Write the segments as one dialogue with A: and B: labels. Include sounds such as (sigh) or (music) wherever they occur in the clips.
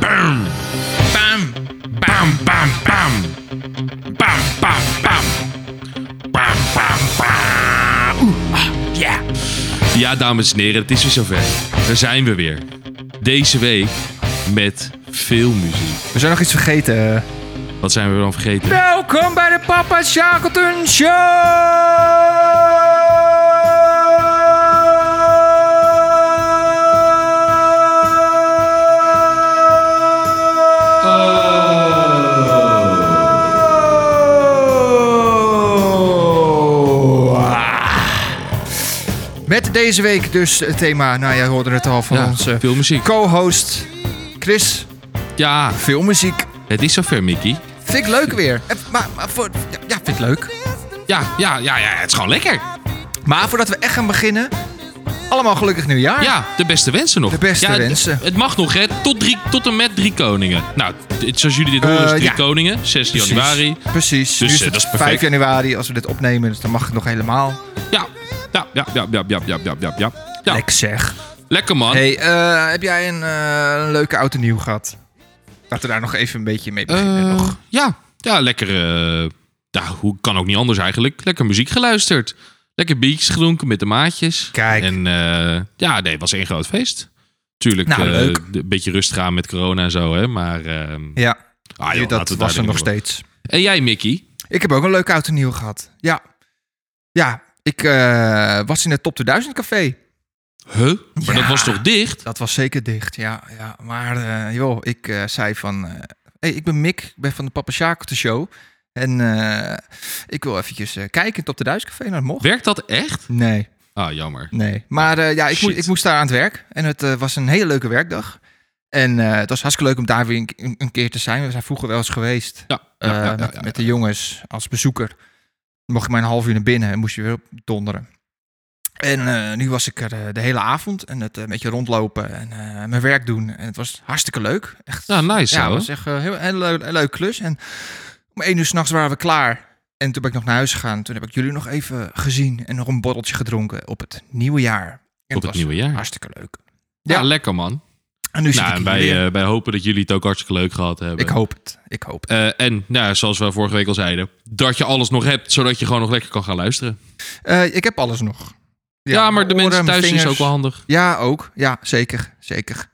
A: Bam! Bam! Bam, bam, bam! Bam, bam, bam! Bam, bam, bam! Oeh, ah, yeah! Ja, dames en heren, het is weer zover. Daar zijn we weer. Deze week met veel muziek.
B: We zijn nog iets vergeten.
A: Wat zijn we dan vergeten?
B: Welkom bij de Papa Shackleton Show! Met deze week dus het thema, nou jij hoorde het al van
A: Ja,
B: onze
A: veel muziek.
B: co-host Chris.
A: Ja,
B: Veel muziek.
A: het is zover, Mickey.
B: Vind ik leuk weer. Eh, Maar, maar voor, ja, ja, vind ik leuk.
A: Ja, ja, ja, ja, het is gewoon lekker.
B: Maar voordat we echt gaan beginnen, allemaal gelukkig nieuwjaar.
A: Ja, de beste wensen nog.
B: De beste
A: Ja, het-
B: wensen.
A: Het, mag nog, hè? Tot, drie, tot en met drie koningen. Nou, dit- zoals jullie dit horen, is
B: Eh,
A: het drie
B: ja.
A: koningen, 16
B: Precies.
A: januari.
B: Precies.
A: Dus,
B: nu is
A: eh,
B: het
A: dat is perfect.
B: 5 januari als we dit opnemen, dus dan mag het nog helemaal.
A: Ja, ja, ja, ja, ja, ja, ja, ja, ja, ja. ja.
B: Lekker zeg.
A: Lekker man.
B: Hey, eh, heb jij een, eh, een leuke oud en nieuw gehad? Laten we daar nog even een beetje mee beginnen.
A: Eh,
B: nog.
A: ja, ja, lekker. eh, nou, hoe kan ook niet anders eigenlijk? Lekker muziek geluisterd. Lekker biertjes gedronken met de maatjes.
B: Kijk.
A: En eh, ja, nee, het was één groot feest. Tuurlijk,
B: Nou,
A: eh,
B: leuk.
A: de- een beetje rustig aan met corona en zo, hè. Maar eh,
B: Ja,
A: ah, joh, laten we het
B: dat
A: daar
B: was er
A: niet
B: nog
A: over-
B: steeds.
A: En jij, Mickey?
B: Ik heb ook een leuk oud en nieuw gehad. Ja. Ja, ik eh, was in het Top 2000 café.
A: Huh? Maar
B: Ja.
A: dat was toch dicht?
B: Dat was zeker dicht, ja. ja. Maar eh, joh, ik eh, zei van... eh, hey, ik ben Mick, ik ben van de Papa Sjaakte Show. En eh, ik wil eventjes eh, kijken in het Top de Duiscafé. Nou, dat mocht.
A: Werkt dat echt?
B: Nee,
A: Ah, jammer.
B: nee. Maar eh, ja, ik,
A: Shit.
B: moest, ik moest daar aan het werk. En het eh, was een hele leuke werkdag. En eh, het was hartstikke leuk om daar weer een, een- een keer te zijn. We zijn vroeger wel eens geweest.
A: Ja, ja,
B: eh,
A: ja, ja,
B: met,
A: ja.
B: met de jongens als bezoeker. Mocht je maar een half uur naar binnen en moest je weer op donderen. En eh, nu was ik er eh, de hele avond en het eh, een beetje rondlopen en eh, mijn werk doen. En het was hartstikke leuk. Echt,
A: Nou, nice
B: ja,
A: zo.
B: het was echt eh, heel- een hele, leuke- een leuke klus. En om één uur s'nachts waren we klaar. En toen ben ik nog naar huis gegaan. Toen heb ik jullie nog even gezien en nog een borreltje gedronken op het nieuwe jaar. En
A: Op het
B: was
A: nieuwe jaar.
B: Hartstikke leuk.
A: Ja,
B: ja.
A: lekker man.
B: En nu zit
A: Nou,
B: ik
A: en
B: hier
A: wij,
B: Dus weer.
A: eh, wij hopen dat jullie het ook hartstikke leuk gehad hebben.
B: ik hoop het. Ik hoop het.
A: Eh, en nou, ja, zoals we vorige week al zeiden, dat je alles nog hebt, zodat je gewoon nog lekker kan gaan luisteren.
B: Eh, ik heb alles nog.
A: Ja, maar de
B: mijn
A: mensen
B: oren, mijn
A: thuis is
B: vingers.
A: ook wel handig.
B: Ja, ook. Ja, zeker. Zeker.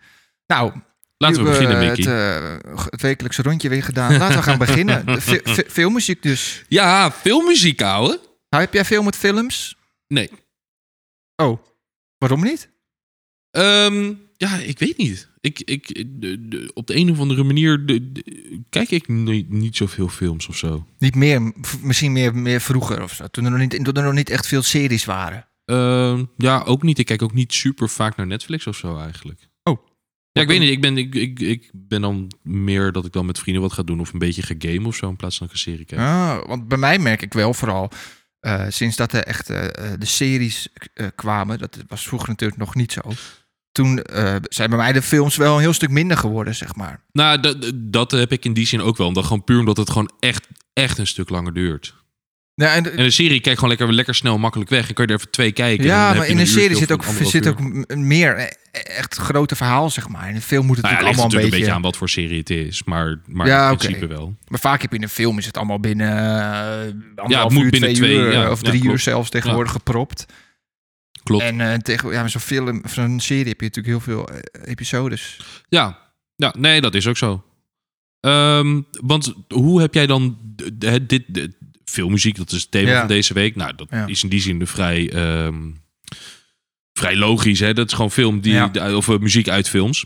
B: Nou,
A: Laten we
B: nu hebben
A: beginnen,
B: we
A: Mickey.
B: Het, eh, het wekelijkse rondje weer gedaan. Laten we gaan
A: (laughs)
B: beginnen. De fi- fi- filmmuziek dus.
A: Ja, veel muziek, ouwe.
B: Nou, heb jij veel met films?
A: Nee.
B: Oh, waarom niet?
A: Ehm, ja, ik weet niet. Ik, ik, de- de- op de een of andere manier de- de- kijk ik ni- niet zoveel films of zo.
B: Niet meer, m- v- misschien meer, meer vroeger of zo. Toen er, nog niet, toen er nog niet echt veel series waren.
A: Ehm, ja, ook niet. Ik kijk ook niet super vaak naar Netflix of zo eigenlijk.
B: Oh.
A: Ja, ik weet niet. Ik ben, ik, ik, ik ben dan meer dat ik dan met vrienden wat ga doen of een beetje ga gamen of zo in plaats van dat ik een serie kijken.
B: Ah, want bij mij merk ik wel vooral, eh, sinds dat er echt eh, eh, de series eh, kwamen, dat was vroeger natuurlijk nog niet zo. Toen eh, zijn bij mij de films wel een heel stuk minder geworden, zeg maar.
A: Nou, dat, dat heb ik in die zin ook wel. Omdat gewoon puur omdat het gewoon echt, echt een stuk langer duurt.
B: Ja, en,
A: En een serie kijk gewoon lekker, lekker snel, makkelijk weg. En kan je er even twee kijken. en dan
B: Ja,
A: heb
B: maar
A: je
B: in een serie
A: uurtje
B: zit
A: of
B: ook,
A: anderhalf
B: zit
A: uur.
B: ook m- meer eh, echt grote verhaal, zeg maar. In een film moet het
A: Nou ja, het ligt natuurlijk
B: natuurlijk allemaal
A: een beetje
B: beetje...
A: aan wat voor serie het is. Maar, maar
B: Ja,
A: in
B: oké.
A: principe wel.
B: Maar vaak heb je in een film is het allemaal binnen eh, anderhalf
A: Ja, het moet
B: uur,
A: binnen
B: twee
A: twee,
B: uur eh,
A: ja,
B: of
A: ja,
B: drie uur
A: klopt.
B: zelfs tegenwoordig gepropt.
A: Klopt.
B: En eh, tegen, ja, met zo'n film, of zo'n serie heb je natuurlijk heel veel eh, episodes.
A: Ja. ja, nee, dat is ook zo. Ehm, want hoe heb jij dan d- d- hè, dit, d- filmmuziek, dat is het thema
B: Ja.
A: van deze week. Nou, dat
B: Ja.
A: is in die zin vrij, ehm, vrij logisch. Hè? Dat is gewoon film die,
B: Ja.
A: de- of eh, muziek uit films.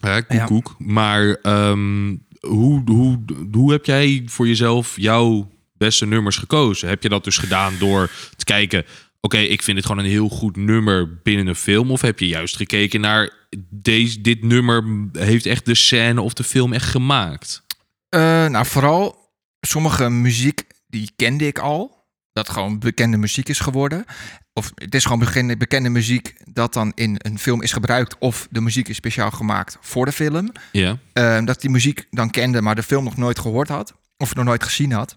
A: Hè, koek,
B: Ja.
A: koek. Maar ehm, hoe, hoe, hoe heb jij voor jezelf jouw beste nummers gekozen? Heb je dat dus gedaan door te kijken... Oké, ik vind het gewoon een heel goed nummer binnen een film. Of heb je juist gekeken naar... Deze, dit nummer heeft echt de scène of de film echt gemaakt?
B: Eh, nou, vooral sommige muziek, die kende ik al. Dat gewoon bekende muziek is geworden. Of het is gewoon bekende, bekende muziek dat dan in een film is gebruikt. Of de muziek is speciaal gemaakt voor de film.
A: Ja.
B: Ehm, dat ik die muziek dan kende, maar de film nog nooit gehoord had. Of nog nooit gezien had.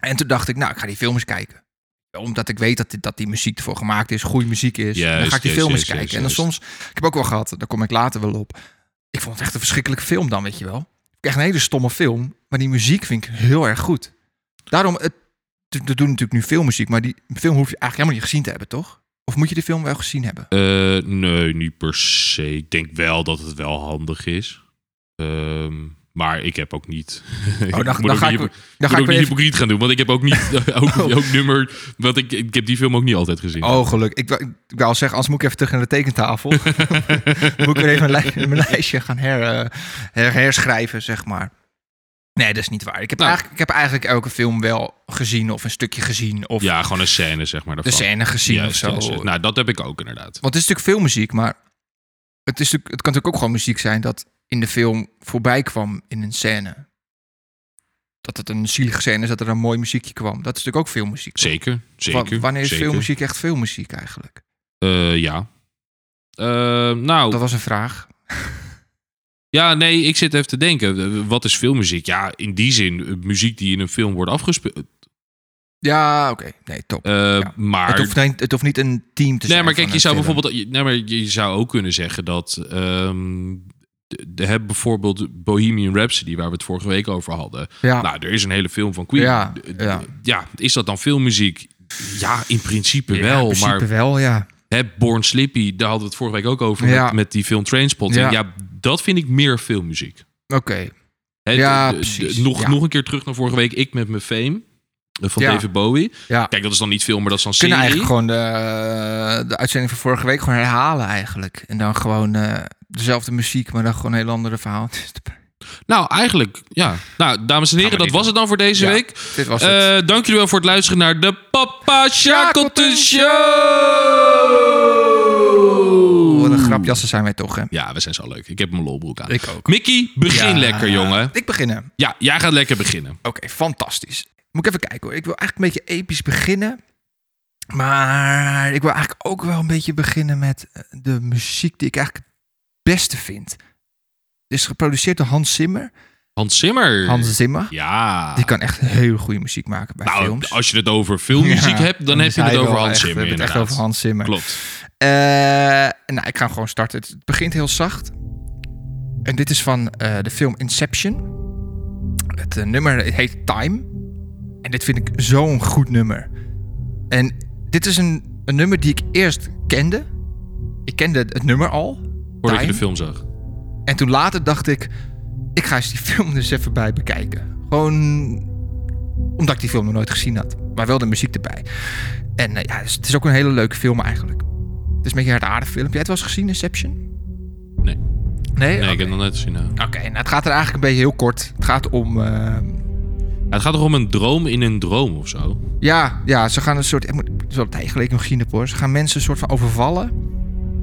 B: En toen dacht ik, nou, ik ga die film eens kijken. omdat ik weet dat, die- dat die muziek ervoor gemaakt is, goede muziek is.
A: Juist,
B: dan ga ik die
A: juist,
B: film
A: juist,
B: eens kijken.
A: juist,
B: en dan
A: juist.
B: soms, ik heb ook wel gehad, daar kom ik later wel op. Ik vond het echt een verschrikkelijke film dan, weet je wel. Echt een hele stomme film, maar die muziek vind ik heel erg goed. Daarom, het, er doen natuurlijk nu veel muziek, maar die film hoef je eigenlijk helemaal niet gezien te hebben, toch? Of moet je de film wel gezien
A: (laughs)
B: hebben?
A: Eh, nee, niet per se. Ik denk wel dat het wel handig is. Ehm, maar ik heb ook niet. (laughs) ik
B: Oh, dan-
A: moet
B: dan
A: ook
B: ga
A: niet-
B: ik- Dan ga
A: moet ook
B: ik weer
A: niet
B: even...
A: hypocriet gaan doen, want ik heb ook
B: (laughs)
A: niet ook,
B: Oh.
A: ook nummer. Want ik, ik heb die film ook niet altijd gezien. (laughs)
B: Oh, geluk. Ik, wou- ik wou al zeggen, anders moet ik even terug naar de tekentafel. moet ik weer even mijn, li- (laughs) mijn lijstje gaan her, eh, her- herschrijven, zeg maar. Nee, dat is niet waar. Ik heb,
A: Nou.
B: eigenlijk, ik heb eigenlijk elke film wel gezien of een stukje gezien. Of
A: Ja, gewoon een scène, zeg maar.
B: de
A: Daarvan.
B: scène gezien
A: Juist,
B: of zo.
A: juist, juist. Nou, dat heb ik ook inderdaad.
B: Want het is natuurlijk veel muziek, maar het, is natuurlijk, het kan natuurlijk ook gewoon muziek zijn dat in de film voorbij kwam in een scène. Dat het een zielige scène is, dat er een mooi muziekje kwam. Dat is natuurlijk ook veel muziek. toch?
A: Zeker,
B: Wa-
A: zeker.
B: Wanneer is
A: zeker.
B: filmmuziek echt filmmuziek eigenlijk?
A: Eh, ja. Eh, nou,
B: Dat was een vraag.
A: ja, nee, ik zit even te denken. Eh, Wat is filmmuziek? Ja, in die zin, eh, muziek die in een film wordt afgespeeld.
B: Ja, oké. Nee, top.
A: Eh, Maar
B: het, hoeft niet, het hoeft niet een team te zijn.
A: Nee, maar kijk,
B: van
A: je zou
B: een film.
A: bijvoorbeeld. je- Nee, maar je zou ook kunnen zeggen dat. ehm de, de- heb bijvoorbeeld Bohemian Rhapsody, waar we het vorige week over hadden.
B: Ja,
A: Nou, er is een hele film van Queen.
B: Ja,
A: D- d-
B: ja.
A: ja, is dat dan filmmuziek? Ja, in principe
B: Ja,
A: wel.
B: in principe
A: maar
B: wel, ja.
A: hè, Born Slippy, daar hadden we het vorige week ook over
B: Ja.
A: met, met die film Trainspotting.
B: Ja.
A: Ja. dat vind ik meer filmmuziek.
B: Oké.
A: Hè,
B: Ja,
A: d- d- d-
B: precies.
A: Nog,
B: Ja.
A: nog een keer terug naar vorige week. Ik met mijn fame eh, van
B: Ja.
A: David Bowie.
B: Ja.
A: Kijk, dat is dan niet film, maar dat is dan
B: We kunnen
A: serie.
B: eigenlijk gewoon eh, de, de uitzending van vorige week gewoon herhalen eigenlijk. En dan gewoon eh, dezelfde muziek, maar dan gewoon een heel andere verhaal. (laughs)
A: Nou, eigenlijk, ja. Nou, dames en heren,
B: Gaan we
A: dat
B: niet
A: was het dan voor deze
B: Ja,
A: week.
B: Dit was het.
A: Eh dank jullie wel voor het luisteren naar de Papa Shackleton Show.
B: Wat een grapjassen zijn wij toch, hè?
A: Ja, we zijn zo leuk. Ik heb mijn lolbroek aan.
B: Ik ook.
A: Mickey, begin
B: Ja.
A: lekker, jongen.
B: Ik beginnen.
A: Ja, jij gaat lekker beginnen.
B: Oké, fantastisch. Moet ik even kijken hoor. Ik wil eigenlijk een beetje episch beginnen. Maar ik wil eigenlijk ook wel een beetje beginnen met eh, de muziek die ik eigenlijk het beste vind. Het is geproduceerd door Hans Zimmer.
A: Hans Zimmer.
B: Hans Zimmer.
A: Ja.
B: Die kan echt heel goede muziek maken bij
A: nou,
B: films.
A: als je het over filmmuziek
B: Ja,
A: hebt, dan
B: is
A: heb je
B: hij
A: het over
B: wel
A: Hans
B: echt- we
A: Zimmer,
B: hebben het echt
A: inderdaad.
B: over Hans Zimmer.
A: Klopt.
B: Eh, nou, ik ga hem gewoon starten. Het het begint heel zacht. En dit is van eh, de film Inception. Het eh, nummer heet Time. En dit vind ik zo'n goed nummer. En dit is een, een nummer die ik eerst kende. Ik kende het het nummer al.
A: Voordat je
B: Time.
A: de film zag.
B: En toen later dacht ik, ik ga eens die (laughs) film dus even bij bekijken. Gewoon omdat ik die film nog nooit gezien had. Maar wel de muziek erbij. En eh, ja, dus het is ook een hele leuke film eigenlijk. Het is een beetje een harde film. Heb jij het wel eens gezien, Inception?
A: Nee.
B: Nee?
A: Nee, ik
B: Oké.
A: heb het nog net gezien. nou.
B: Oké, nou het gaat er eigenlijk een beetje heel kort. Het gaat om... eh,
A: Ja, het gaat toch om een droom in een droom of zo?
B: ja, ja, ze gaan een soort... Ik moet het is wel een tijd geleden misschien heb hoor. Ze gaan mensen een soort van overvallen.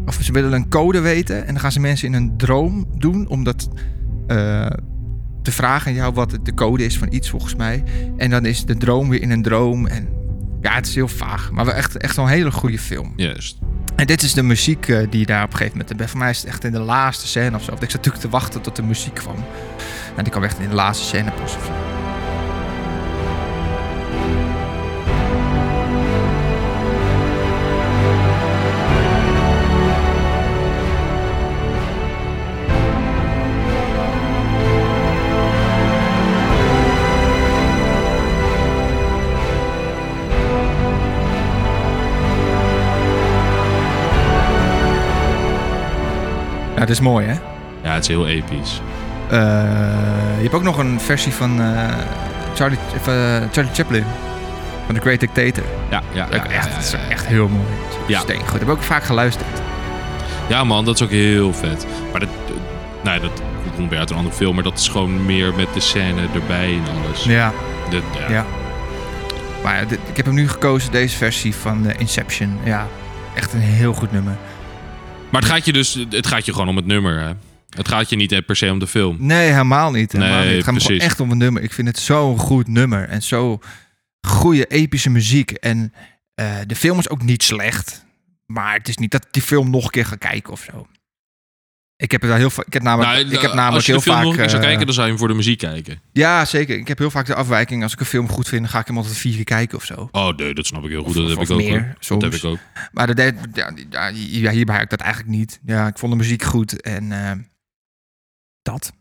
B: Of ze willen een code weten. En dan gaan ze mensen in een droom doen. Omdat eh, te vragen aan jou wat het- de code is van iets, volgens mij. En dan is de droom weer in een droom. En ja, het is heel vaag. Maar wel echt, echt wel een hele goede film.
A: Juist.
B: En dit is de muziek eh, die daar op een gegeven moment... bij- Voor mij is het echt in de laatste scène of zo. Want ik zat natuurlijk te wachten tot de muziek kwam. En die kwam echt in de laatste scène pas of zo. Ja, dat is mooi, hè?
A: Ja, het is heel episch.
B: Eh, je hebt ook nog een versie van eh, Charlie, of, eh, Charlie Chaplin. Van The Great Dictator.
A: Ja, ja, ja,
B: Ook
A: ja,
B: echt,
A: ja,
B: dat is
A: ja, ja.
B: echt heel mooi.
A: Ja.
B: Steen goed. Heb ik ook vaak geluisterd.
A: Ja, man, dat is ook heel vet. Maar dat, eh, nou ja, dat komt weer uit een andere film, maar dat is gewoon meer met de scène erbij en alles.
B: Ja.
A: Dat, ja.
B: Ja. Maar ja, dit- ik heb hem nu gekozen, deze versie van eh, Inception. Ja, echt een heel goed nummer.
A: Maar het gaat je dus, het gaat je gewoon om het nummer. Hè? Het gaat je niet eh, per se om de film.
B: Nee, helemaal niet. Helemaal
A: Nee,
B: niet. Het gaat me gewoon
A: precies.
B: echt om een nummer. Ik vind het zo'n goed nummer. En zo goede, epische muziek. En eh, de film is ook niet slecht. Maar het is niet dat ik die film nog een keer ga kijken of zo. Ik heb er wel heel vaak. Ik heb namelijk,
A: Nou,
B: ik heb namelijk
A: als je
B: heel
A: de film
B: vaak.
A: nog een keer zou
B: eh,
A: kijken, dan zou je hem voor de muziek kijken.
B: Ja, zeker. Ik heb heel vaak de afwijking. Als ik een film goed vind, dan ga ik hem altijd vier keer kijken of zo.
A: Oh nee, dat snap ik heel goed. dat
B: of-
A: heb
B: of
A: ik ook.
B: meer,
A: hoor.
B: soms.
A: Dat heb ik ook.
B: Maar dat deed, ja, die- ja, die- ja, hierbij had ik dat eigenlijk niet. Ja, ik vond de muziek goed en eh, dat.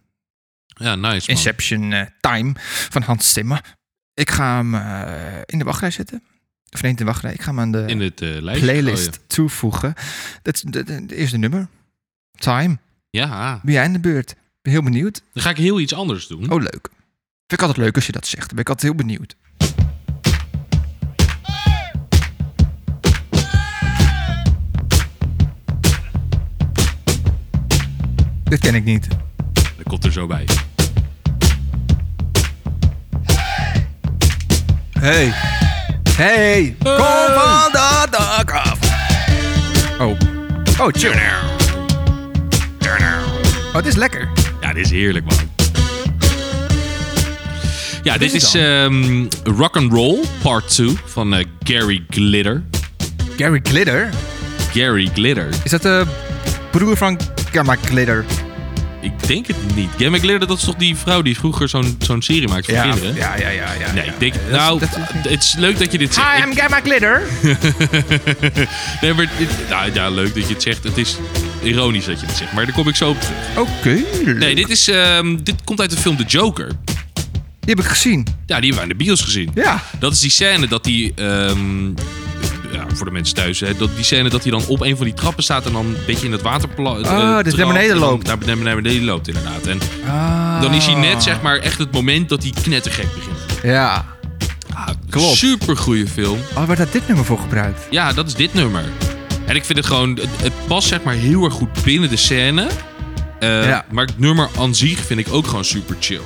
A: Ja, nice man.
B: Inception eh, Time van Hans Zimmer. Ik ga hem eh, in de wachtrij zetten. Of nee, niet in de wachtrij. Ik ga hem aan de
A: In het eh, lijstje
B: playlist
A: gooien.
B: toevoegen. Dat is de, de- de eerste nummer. Time.
A: Ja,
B: Ben jij in de beurt? Ik ben heel benieuwd.
A: dan ga ik heel iets anders doen.
B: Oh, leuk. Vind ik altijd leuk als je dat zegt. Dan ben ik altijd heel benieuwd. Dit ken ik niet.
A: Dat komt er zo bij.
B: Hey. Hey.
A: Eh.
B: Kom van de dak af. Oh. Oh, chill. Oh, het is lekker.
A: Ja, dit is heerlijk man. Ja, dit
B: is
A: is
B: het
A: ehm Rock and Roll Part 2 van eh, Gary Glitter.
B: Gary Glitter.
A: Gary Glitter.
B: Is dat de broer van Gamma Glitter?
A: Ik denk het niet. Gary Glitter, dat is toch die vrouw die vroeger zo'n zo'n serie maakte voor kinderen?
B: ja, ja, ja. ja
A: Nee,
B: ja.
A: ik denk...
B: Dat is-
A: nou,
B: dat is-
A: het is leuk dat je dit zegt.
B: Hi,
A: Ik-
B: I'm Gamma Glitter.
A: (laughs) nee, maar dit- nou, ja, leuk dat je het zegt. Het is ironisch dat je het zegt, maar daar kom ik zo op terug.
B: Oké.
A: Nee, dit, is, ehm, dit komt uit de film The Joker.
B: Die heb ik gezien.
A: Ja, die hebben we in de bios gezien.
B: Ja.
A: Dat is die scène dat hij... ehm, ja, voor de mensen thuis. Hè, dat, die scène dat hij dan op een van die trappen staat... en dan een beetje in het water... pla- eh,
B: Ah, dus naar
A: trapt
B: beneden
A: en dan
B: loopt. Ah.
A: Naar, beneden- naar beneden loopt, inderdaad. En dan is hij net, zeg maar, echt het moment dat hij knettergek begint.
B: Ja.
A: Ah,
B: Klopt.
A: Supergoeie film.
B: Oh, werd daar dit nummer voor gebruikt?
A: Ja, dat is dit nummer. En ik vind het gewoon... Het, het past zeg maar heel erg goed binnen de scène. Eh,
B: Ja.
A: Maar het nummer aan zich vind ik ook gewoon super chill.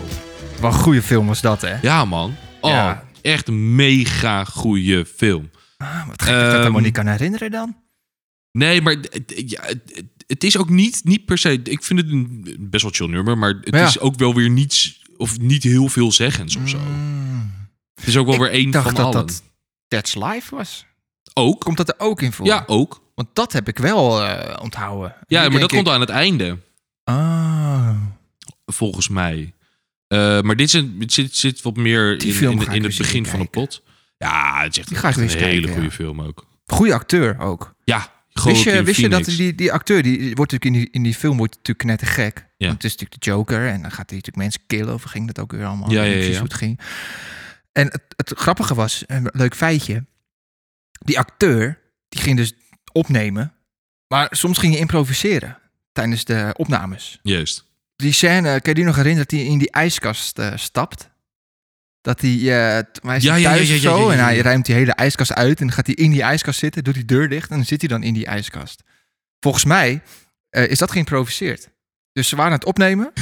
B: Wat een goede film was dat, hè?
A: Ja, man. Oh,
B: Ja.
A: echt een mega goede film.
B: Ah, wat gek dat ik dat
A: Ehm,
B: helemaal niet kan herinneren dan.
A: Nee, maar het- het- ja, het, het is ook niet, niet per se... Ik vind het een best wel chill nummer, maar het
B: Ja.
A: is ook wel weer niets... Of niet heel veel zeggens of zo.
B: Mm.
A: Het is ook wel
B: Ik
A: weer één
B: dacht
A: van
B: dat
A: allen.
B: dat That's Life was.
A: Ook.
B: Komt dat er ook in voor?
A: Ja, ook.
B: Want dat heb ik wel eh, onthouden.
A: Ja,
B: Nu
A: maar dat
B: denk
A: komt
B: ik-
A: aan het einde.
B: Ah.
A: volgens mij. Eh, maar dit zit, dit zit, zit wat meer
B: Die
A: in,
B: film
A: in,
B: ga ik
A: in
B: weer
A: het
B: zitten
A: begin van de
B: kijken.
A: pot. Ja, het is echt
B: Die ga ik
A: een
B: weer
A: hele
B: eens kijken,
A: goede
B: ja.
A: film ook.
B: Goeie acteur ook.
A: Ja,
B: Wist je,
A: Joaquin
B: wist je dat
A: Phoenix.
B: die, die acteur, die wordt natuurlijk in die, in die film wordt natuurlijk net gek.
A: Ja.
B: Want het is natuurlijk de Joker en dan gaat hij natuurlijk mensen killen of ging dat ook weer allemaal.
A: Ja,
B: Ik
A: ja,
B: weet niet
A: ja.
B: precies hoe het ging. En het, het grappige was, een leuk feitje, die acteur die ging dus opnemen, maar soms ging hij improviseren tijdens de opnames.
A: Juist.
B: Die scène, kan je die nog herinneren dat hij in die ijskast eh, stapt? Dat hij, eh t- hij is
A: Ja, ja,
B: thuis
A: ja,
B: of
A: ja,
B: zo
A: ja, ja,
B: en
A: ja.
B: hij ruimt die hele ijskast uit en dan gaat hij in die ijskast zitten, doet die deur dicht en dan zit hij dan in die ijskast. Volgens mij eh, is dat geïmproviseerd. Dus ze waren aan het
A: (laughs)
B: opnemen,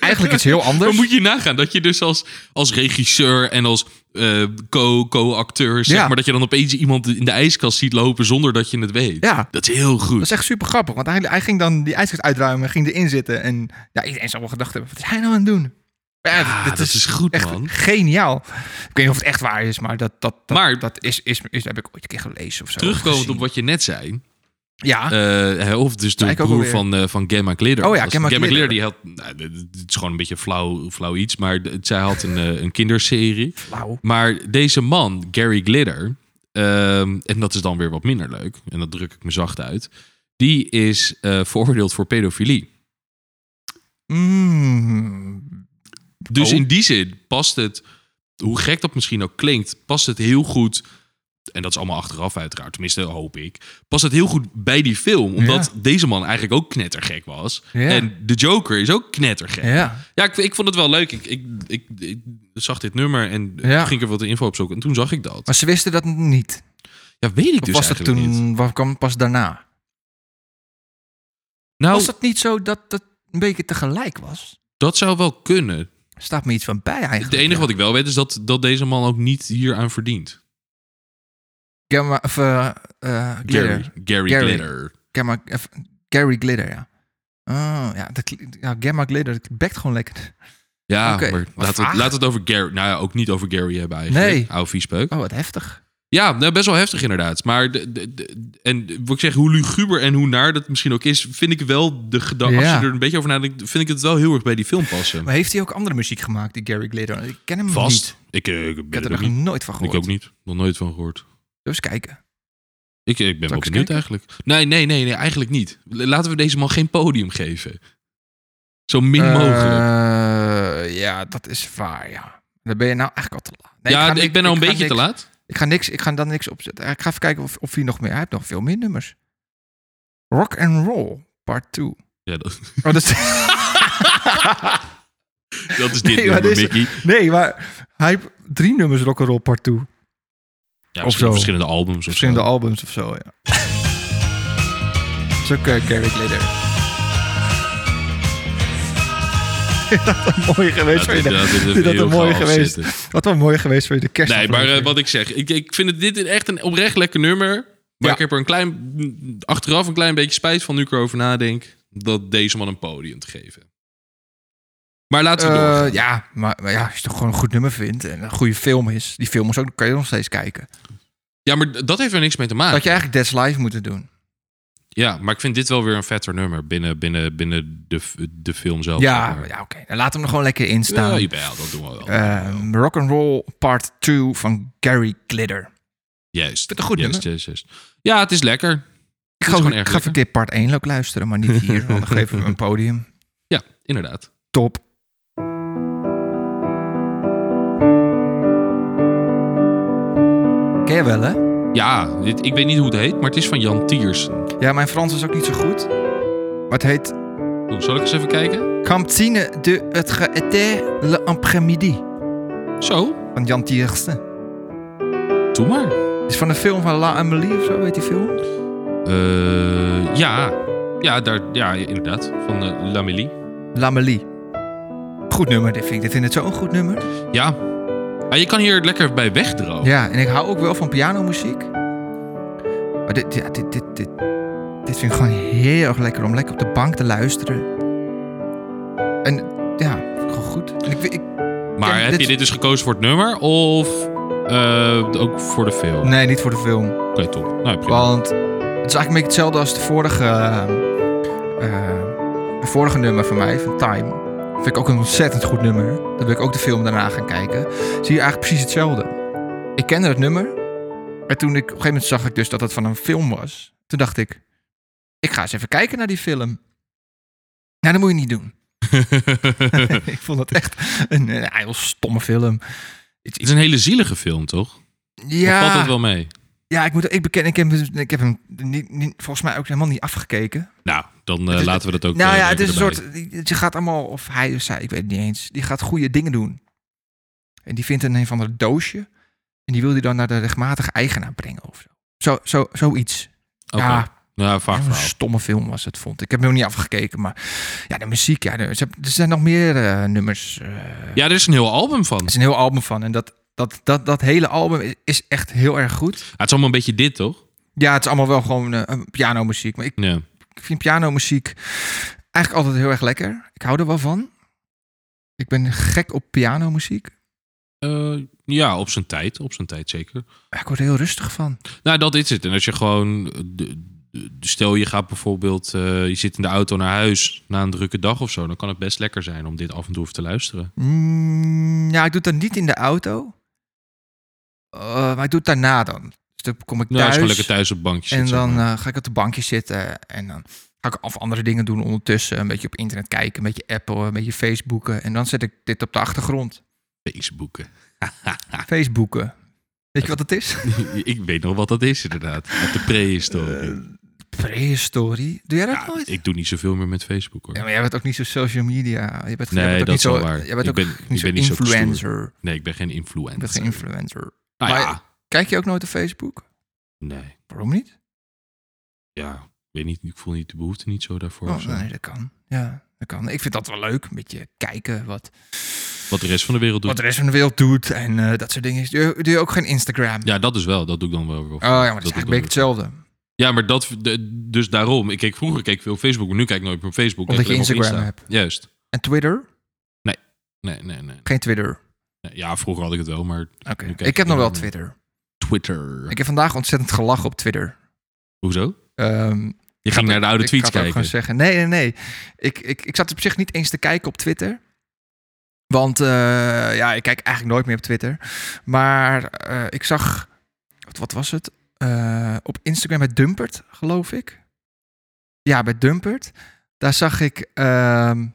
B: eigenlijk iets heel anders.
A: Dan moet je nagaan dat je dus als, als regisseur en als eh, co- co-acteur, zeg
B: Ja.
A: maar, dat je dan opeens iemand in de ijskast ziet lopen zonder dat je het weet.
B: Ja.
A: Dat is heel goed.
B: Dat is echt super grappig, want hij, hij ging dan die ijskast uitruimen, ging erin zitten en ja, iedereen zou wel gedacht hebben, wat is hij nou aan het doen? Ja,
A: Ah, dat is goed,
B: echt
A: man.
B: geniaal. Ik weet niet of het echt waar is, maar dat, dat, dat,
A: Maar-
B: dat is, is, is, heb ik ooit een keer gelezen of zo.
A: Terugkomend
B: gezien.
A: op wat je net zei,
B: Ja,
A: Eh, hè, of dus de
B: Ah. Ja, ik ook
A: broer
B: alweer.
A: van, eh, van Gamma Glitter.
B: Oh ja,
A: Was-
B: Gamma Glitter.
A: die had... nou, dit- dit- het is gewoon een beetje flauw, flauw iets, maar d- zij had een, eh, een kinderserie.
B: flauw.
A: Maar deze man, Gary Glitter... ehm, en dat is dan weer wat minder leuk. En dat druk ik me zacht uit. Die is eh, veroordeeld voor pedofilie.
B: Mm.
A: Dus
B: Oh.
A: in die zin past het... Hoe gek dat misschien ook klinkt, past het heel goed... En dat is allemaal achteraf uiteraard, tenminste hoop ik. Past het heel goed bij die film. Omdat deze man eigenlijk ook knettergek was.
B: Ja.
A: En de Joker is ook knettergek.
B: Ja.
A: Ja, ik, ik vond het wel leuk. Ik, ik, ik, ik zag dit nummer en
B: Ja.
A: ging ik er wat info op zoeken. En toen zag ik dat.
B: Maar ze wisten dat niet.
A: Ja, weet ik
B: Of
A: dus
B: was dat
A: eigenlijk niet.
B: toen, wat kwam pas daarna?
A: Nou,
B: Was dat niet zo dat dat een beetje tegelijk was?
A: dat zou wel kunnen.
B: Staat me iets van bij eigenlijk.
A: Het enige
B: ja.
A: wat ik wel weet is dat, dat deze man ook niet hieraan verdient.
B: Gamma, of, eh, eh, Glitter.
A: Gary. Gary,
B: Gary.
A: Glitter.
B: Gamma, of, Gary Glitter, ja. Oh, ja, dat, kli- ja, Gamma Glitter, dat bekt gewoon lekker.
A: Ja,
B: Oké,
A: maar
B: wat
A: laat het,
B: vaag.
A: laat het over Gary... Nou ja, ook niet over Gary hebben eigenlijk.
B: Nee.
A: Oude viespeuk.
B: Oh, wat heftig.
A: Ja, nou, best wel heftig inderdaad. Maar de, de- de- en wat ik zeg, hoe luguber en hoe naar dat misschien ook is, vind ik wel de gedachte. Als
B: Ja.
A: je er een beetje over nadenkt, vind ik het wel heel erg bij die film passen.
B: Maar heeft hij ook andere muziek gemaakt, die Gary Glitter? Ik ken hem niet.
A: Vast. Ik, eh, ik
B: Ik
A: ben
B: heb er
A: er
B: nog
A: ook niet.
B: nooit van gehoord.
A: Ik ook niet. Nog nooit van gehoord.
B: Dus kijken.
A: Ik, ik ben wel
B: ik eens
A: benieuwd
B: kijken?
A: eigenlijk. Nee, nee, nee, nee, eigenlijk niet. L- Laten we deze man geen podium geven. Zo min mogelijk.
B: Eh, ja, dat is waar, ja. Dan ben je nou eigenlijk al te laat. Nee,
A: ja,
B: ga
A: ik,
B: niks-
A: ben al een
B: ga
A: beetje te
B: niks-
A: laat.
B: Ik ga, niks, ik ga dan niks opzetten. Ik ga even kijken of, of hij nog meer... Hij heeft nog veel meer nummers. Rock and Roll, part 2. Oh,
A: Ja, dat, (laughs)
B: dat is... (laughs)
A: dat is dit
B: Nee, maar
A: nummer,
B: dit is-
A: Mickey.
B: Nee, maar hij heeft drie nummers rock and roll part 2.
A: Ja,
B: Of
A: misschien
B: zo.
A: verschillende albums of
B: Verschillende
A: zo.
B: albums of zo, ja. Zo kijk eh, Gary Glitter. (laughs) dat een mooie geweest voor je.
A: Ja, dit- dit- dit
B: (laughs) Dit had
A: heel
B: een mooie
A: gaaf
B: geweest.
A: zitten.
B: Wat wel mooi geweest voor je de kerst.
A: Nee, maar eh, wat ik zeg, ik, ik vind het, dit echt een oprecht lekker nummer. Maar
B: Ja.
A: ik heb er een klein, achteraf een klein beetje spijt van nu ik erover nadenk. Dat deze man een podium te geven. Maar laten we
B: Eh,
A: doorgaan.
B: ja, maar, maar ja, als je toch gewoon een goed nummer vindt en een goede film is, die film is ook, kan je nog steeds kijken.
A: Ah, Ja, maar d- dat heeft er niks mee te maken.
B: Dat je eigenlijk Death Live moeten doen.
A: Ja, maar ik vind dit wel weer een vetter nummer binnen, binnen, binnen de, f- de film zelf. zeg
B: ja,
A: maar.
B: ja oké. Dan laat hem er gewoon lekker in staan.
A: Ja, ja, dat doen we wel.
B: Ehm, rock and Roll Part 2 van Gary Glitter.
A: juist.
B: het een goed
A: juist,
B: nummer.
A: juist, juist. Ja, het is lekker.
B: Ik
A: is
B: ga,
A: gewoon
B: ik
A: erg
B: ga
A: lekker.
B: verkeerd part 1 ook luisteren, maar niet
A: (laughs)
B: hier. Want dan geven we hem een podium.
A: Ja, inderdaad.
B: Top. Ken je wel, hè?
A: Ja, dit, ik weet niet hoe het heet, maar het is van Jan Tiersen.
B: Ja, mijn Frans is ook niet zo goed. Maar het heet
A: Oeh, Oh, Zal ik eens even kijken?
B: Cantine de het Gaëté le après-midi
A: Zo,
B: van Jan Tiersten.
A: doe maar.
B: Is van een film van La Amélie of zo, weet die film?
A: Eh, ja. Ja, daar, ja, inderdaad. Van eh, Lamélie.
B: La Amélie. Goed nummer, dit vind ik. Dit vind ik zo'n goed nummer.
A: Ja. Maar je kan hier lekker bij wegdrogen.
B: Ja, en ik hou ook wel van pianomuziek. Maar dit, ja, dit, dit, dit, dit vind ik gewoon heel erg lekker om lekker op de bank te luisteren. En ja, vind ik gewoon goed. En ik, ik,
A: maar
B: ken
A: heb
B: dit-
A: je dit dus gekozen voor het nummer? Of eh, ook voor de film?
B: nee, niet voor de film.
A: Oké, top. Nou, prima.
B: Want het is eigenlijk een beetje hetzelfde als de vorige, eh, eh, het vorige nummer van mij, van Time. Vind ik ook een ontzettend goed nummer. Dan wil ik ook de film daarna gaan kijken. Zie je eigenlijk precies hetzelfde. Ik kende het nummer. Maar toen ik, op een gegeven moment zag ik dus dat het van een film was. Toen dacht ik, ik ga eens even kijken naar die film. Nou, dat moet je niet
A: (laughs)
B: doen. ik vond het echt een, een heel stomme film.
A: het is een hele zielige film, toch? Ja. Of valt dat wel mee?
B: Ja, ik moet ik bekennen, ik heb, hem- ik heb hem niet, niet, volgens mij ook helemaal niet afgekeken.
A: Nou, dan eh,
B: Het is-
A: laten we dat ook
B: nou
A: eh,
B: ja, het
A: even
B: is een
A: erbij.
B: soort, je gaat allemaal, of hij of zij, ik weet het niet eens, die gaat goede dingen doen. En die vindt een een van ander doosje en die wil die dan naar de rechtmatige eigenaar brengen of zo. Zo, zo, zoiets.
A: Oké.
B: Ja,
A: Ja, vaak
B: een
A: verhaal.
B: stomme film was het, vond ik. Ik heb hem nog niet afgekeken, maar ja, de muziek, ja, er ze hebben- er zijn nog meer eh, nummers. eh,
A: Ja, er is een heel album van.
B: er is een heel album van en dat, dat, dat, dat hele album is- is echt heel erg goed.
A: Ja, het is allemaal een beetje dit, toch?
B: Ja, het is allemaal wel gewoon eh, pianomuziek, maar ik
A: Ja.
B: ik vind pianomuziek eigenlijk altijd heel erg lekker. Ik hou er wel van. Ik ben gek op pianomuziek.
A: Eh, ja, op zijn tijd. Op zijn tijd zeker.
B: Maar Ik word er heel rustig van.
A: Nou, dat is het. En als je gewoon. eh, de- de- Stel, je gaat bijvoorbeeld. eh, je zit in de auto naar huis na een drukke dag of zo. Dan kan het best lekker zijn om dit af en toe even te luisteren.
B: Mm, ja, ik doe het dan niet in de auto. Eh, maar ik doe het daarna dan. Dus dan kom ik
A: Nou, als je
B: thuis.
A: gewoon lekker thuis op het bankje zit.
B: en
A: zeg
B: dan
A: maar.
B: eh, ga ik op het bankje zitten. En dan ga ik af andere dingen doen ondertussen. Een beetje op internet kijken. Een beetje appen. Een beetje Facebooken. En dan zet ik dit op de achtergrond.
A: Facebooken.
B: Facebooken. Weet je wat het is?
A: (laughs)
B: (laughs)
A: ik weet nog wat dat is, inderdaad. Uit de prehistorie.
B: Prehistorie. Doe jij dat
A: Ja,
B: Eh, nooit?
A: ik doe niet zoveel meer met Facebook hoor.
B: Ja, maar jij bent ook niet zo social media. Je bent,
A: Nee,
B: jij bent ook
A: dat
B: niet
A: is wel
B: zo,
A: waar.
B: Jij bent
A: Ik
B: ook
A: ben-
B: niet
A: ik
B: zo
A: ben niet zo stoer.
B: influencer.
A: Nee, ik ben geen
B: Je bent
A: influencer.
B: geen influencer.
A: Nou ja,
B: Maar- Kijk je ook nooit op Facebook?
A: nee.
B: Waarom niet?
A: Ja, ik weet niet. Ik voel niet de behoefte niet zo daarvoor. of
B: Oh,
A: zo.
B: nee, dat kan. Ja, dat kan. Ik vind dat wel leuk. Een beetje kijken wat,
A: Wat de rest van de wereld doet.
B: wat de rest van de wereld doet. En eh, dat soort dingen. Doe je, doe je ook geen Instagram?
A: Ja, dat is wel. Dat doe ik dan wel. weer.
B: Oh ja, maar dat, is
A: doe ik
B: eigenlijk
A: dan
B: een beetje
A: weer.
B: hetzelfde.
A: Ja, maar dat, de- dus daarom. Ik keek vroeger keek ik veel op Facebook, maar nu kijk ik nooit meer op Facebook.
B: Omdat
A: Kijk
B: je
A: alleen maar op
B: Instagram
A: Insta. Juist.
B: En Twitter?
A: Nee, nee, nee,
B: Geen Twitter.
A: nee. Ja, vroeger had ik het wel, maar
B: Oké.
A: Nu kijk
B: Ik
A: ik
B: heb nog
A: er
B: wel
A: niet meer.
B: Twitter.
A: Twitter.
B: Ik heb vandaag ontzettend gelachen op Twitter.
A: Hoezo?
B: Ehm,
A: Je ging naar de oude
B: ik
A: tweets
B: ga het
A: kijken.
B: ook gewoon (laughs) zeggen. Nee, nee, nee. Ik, ik, ik zat op zich niet eens te kijken op Twitter. Want eh, ja, ik kijk eigenlijk nooit meer op Twitter. Maar eh, ik zag, wat, wat was het? Eh, op Instagram bij Dumpert, geloof ik. Ja, bij Dumpert. Daar zag ik ehm,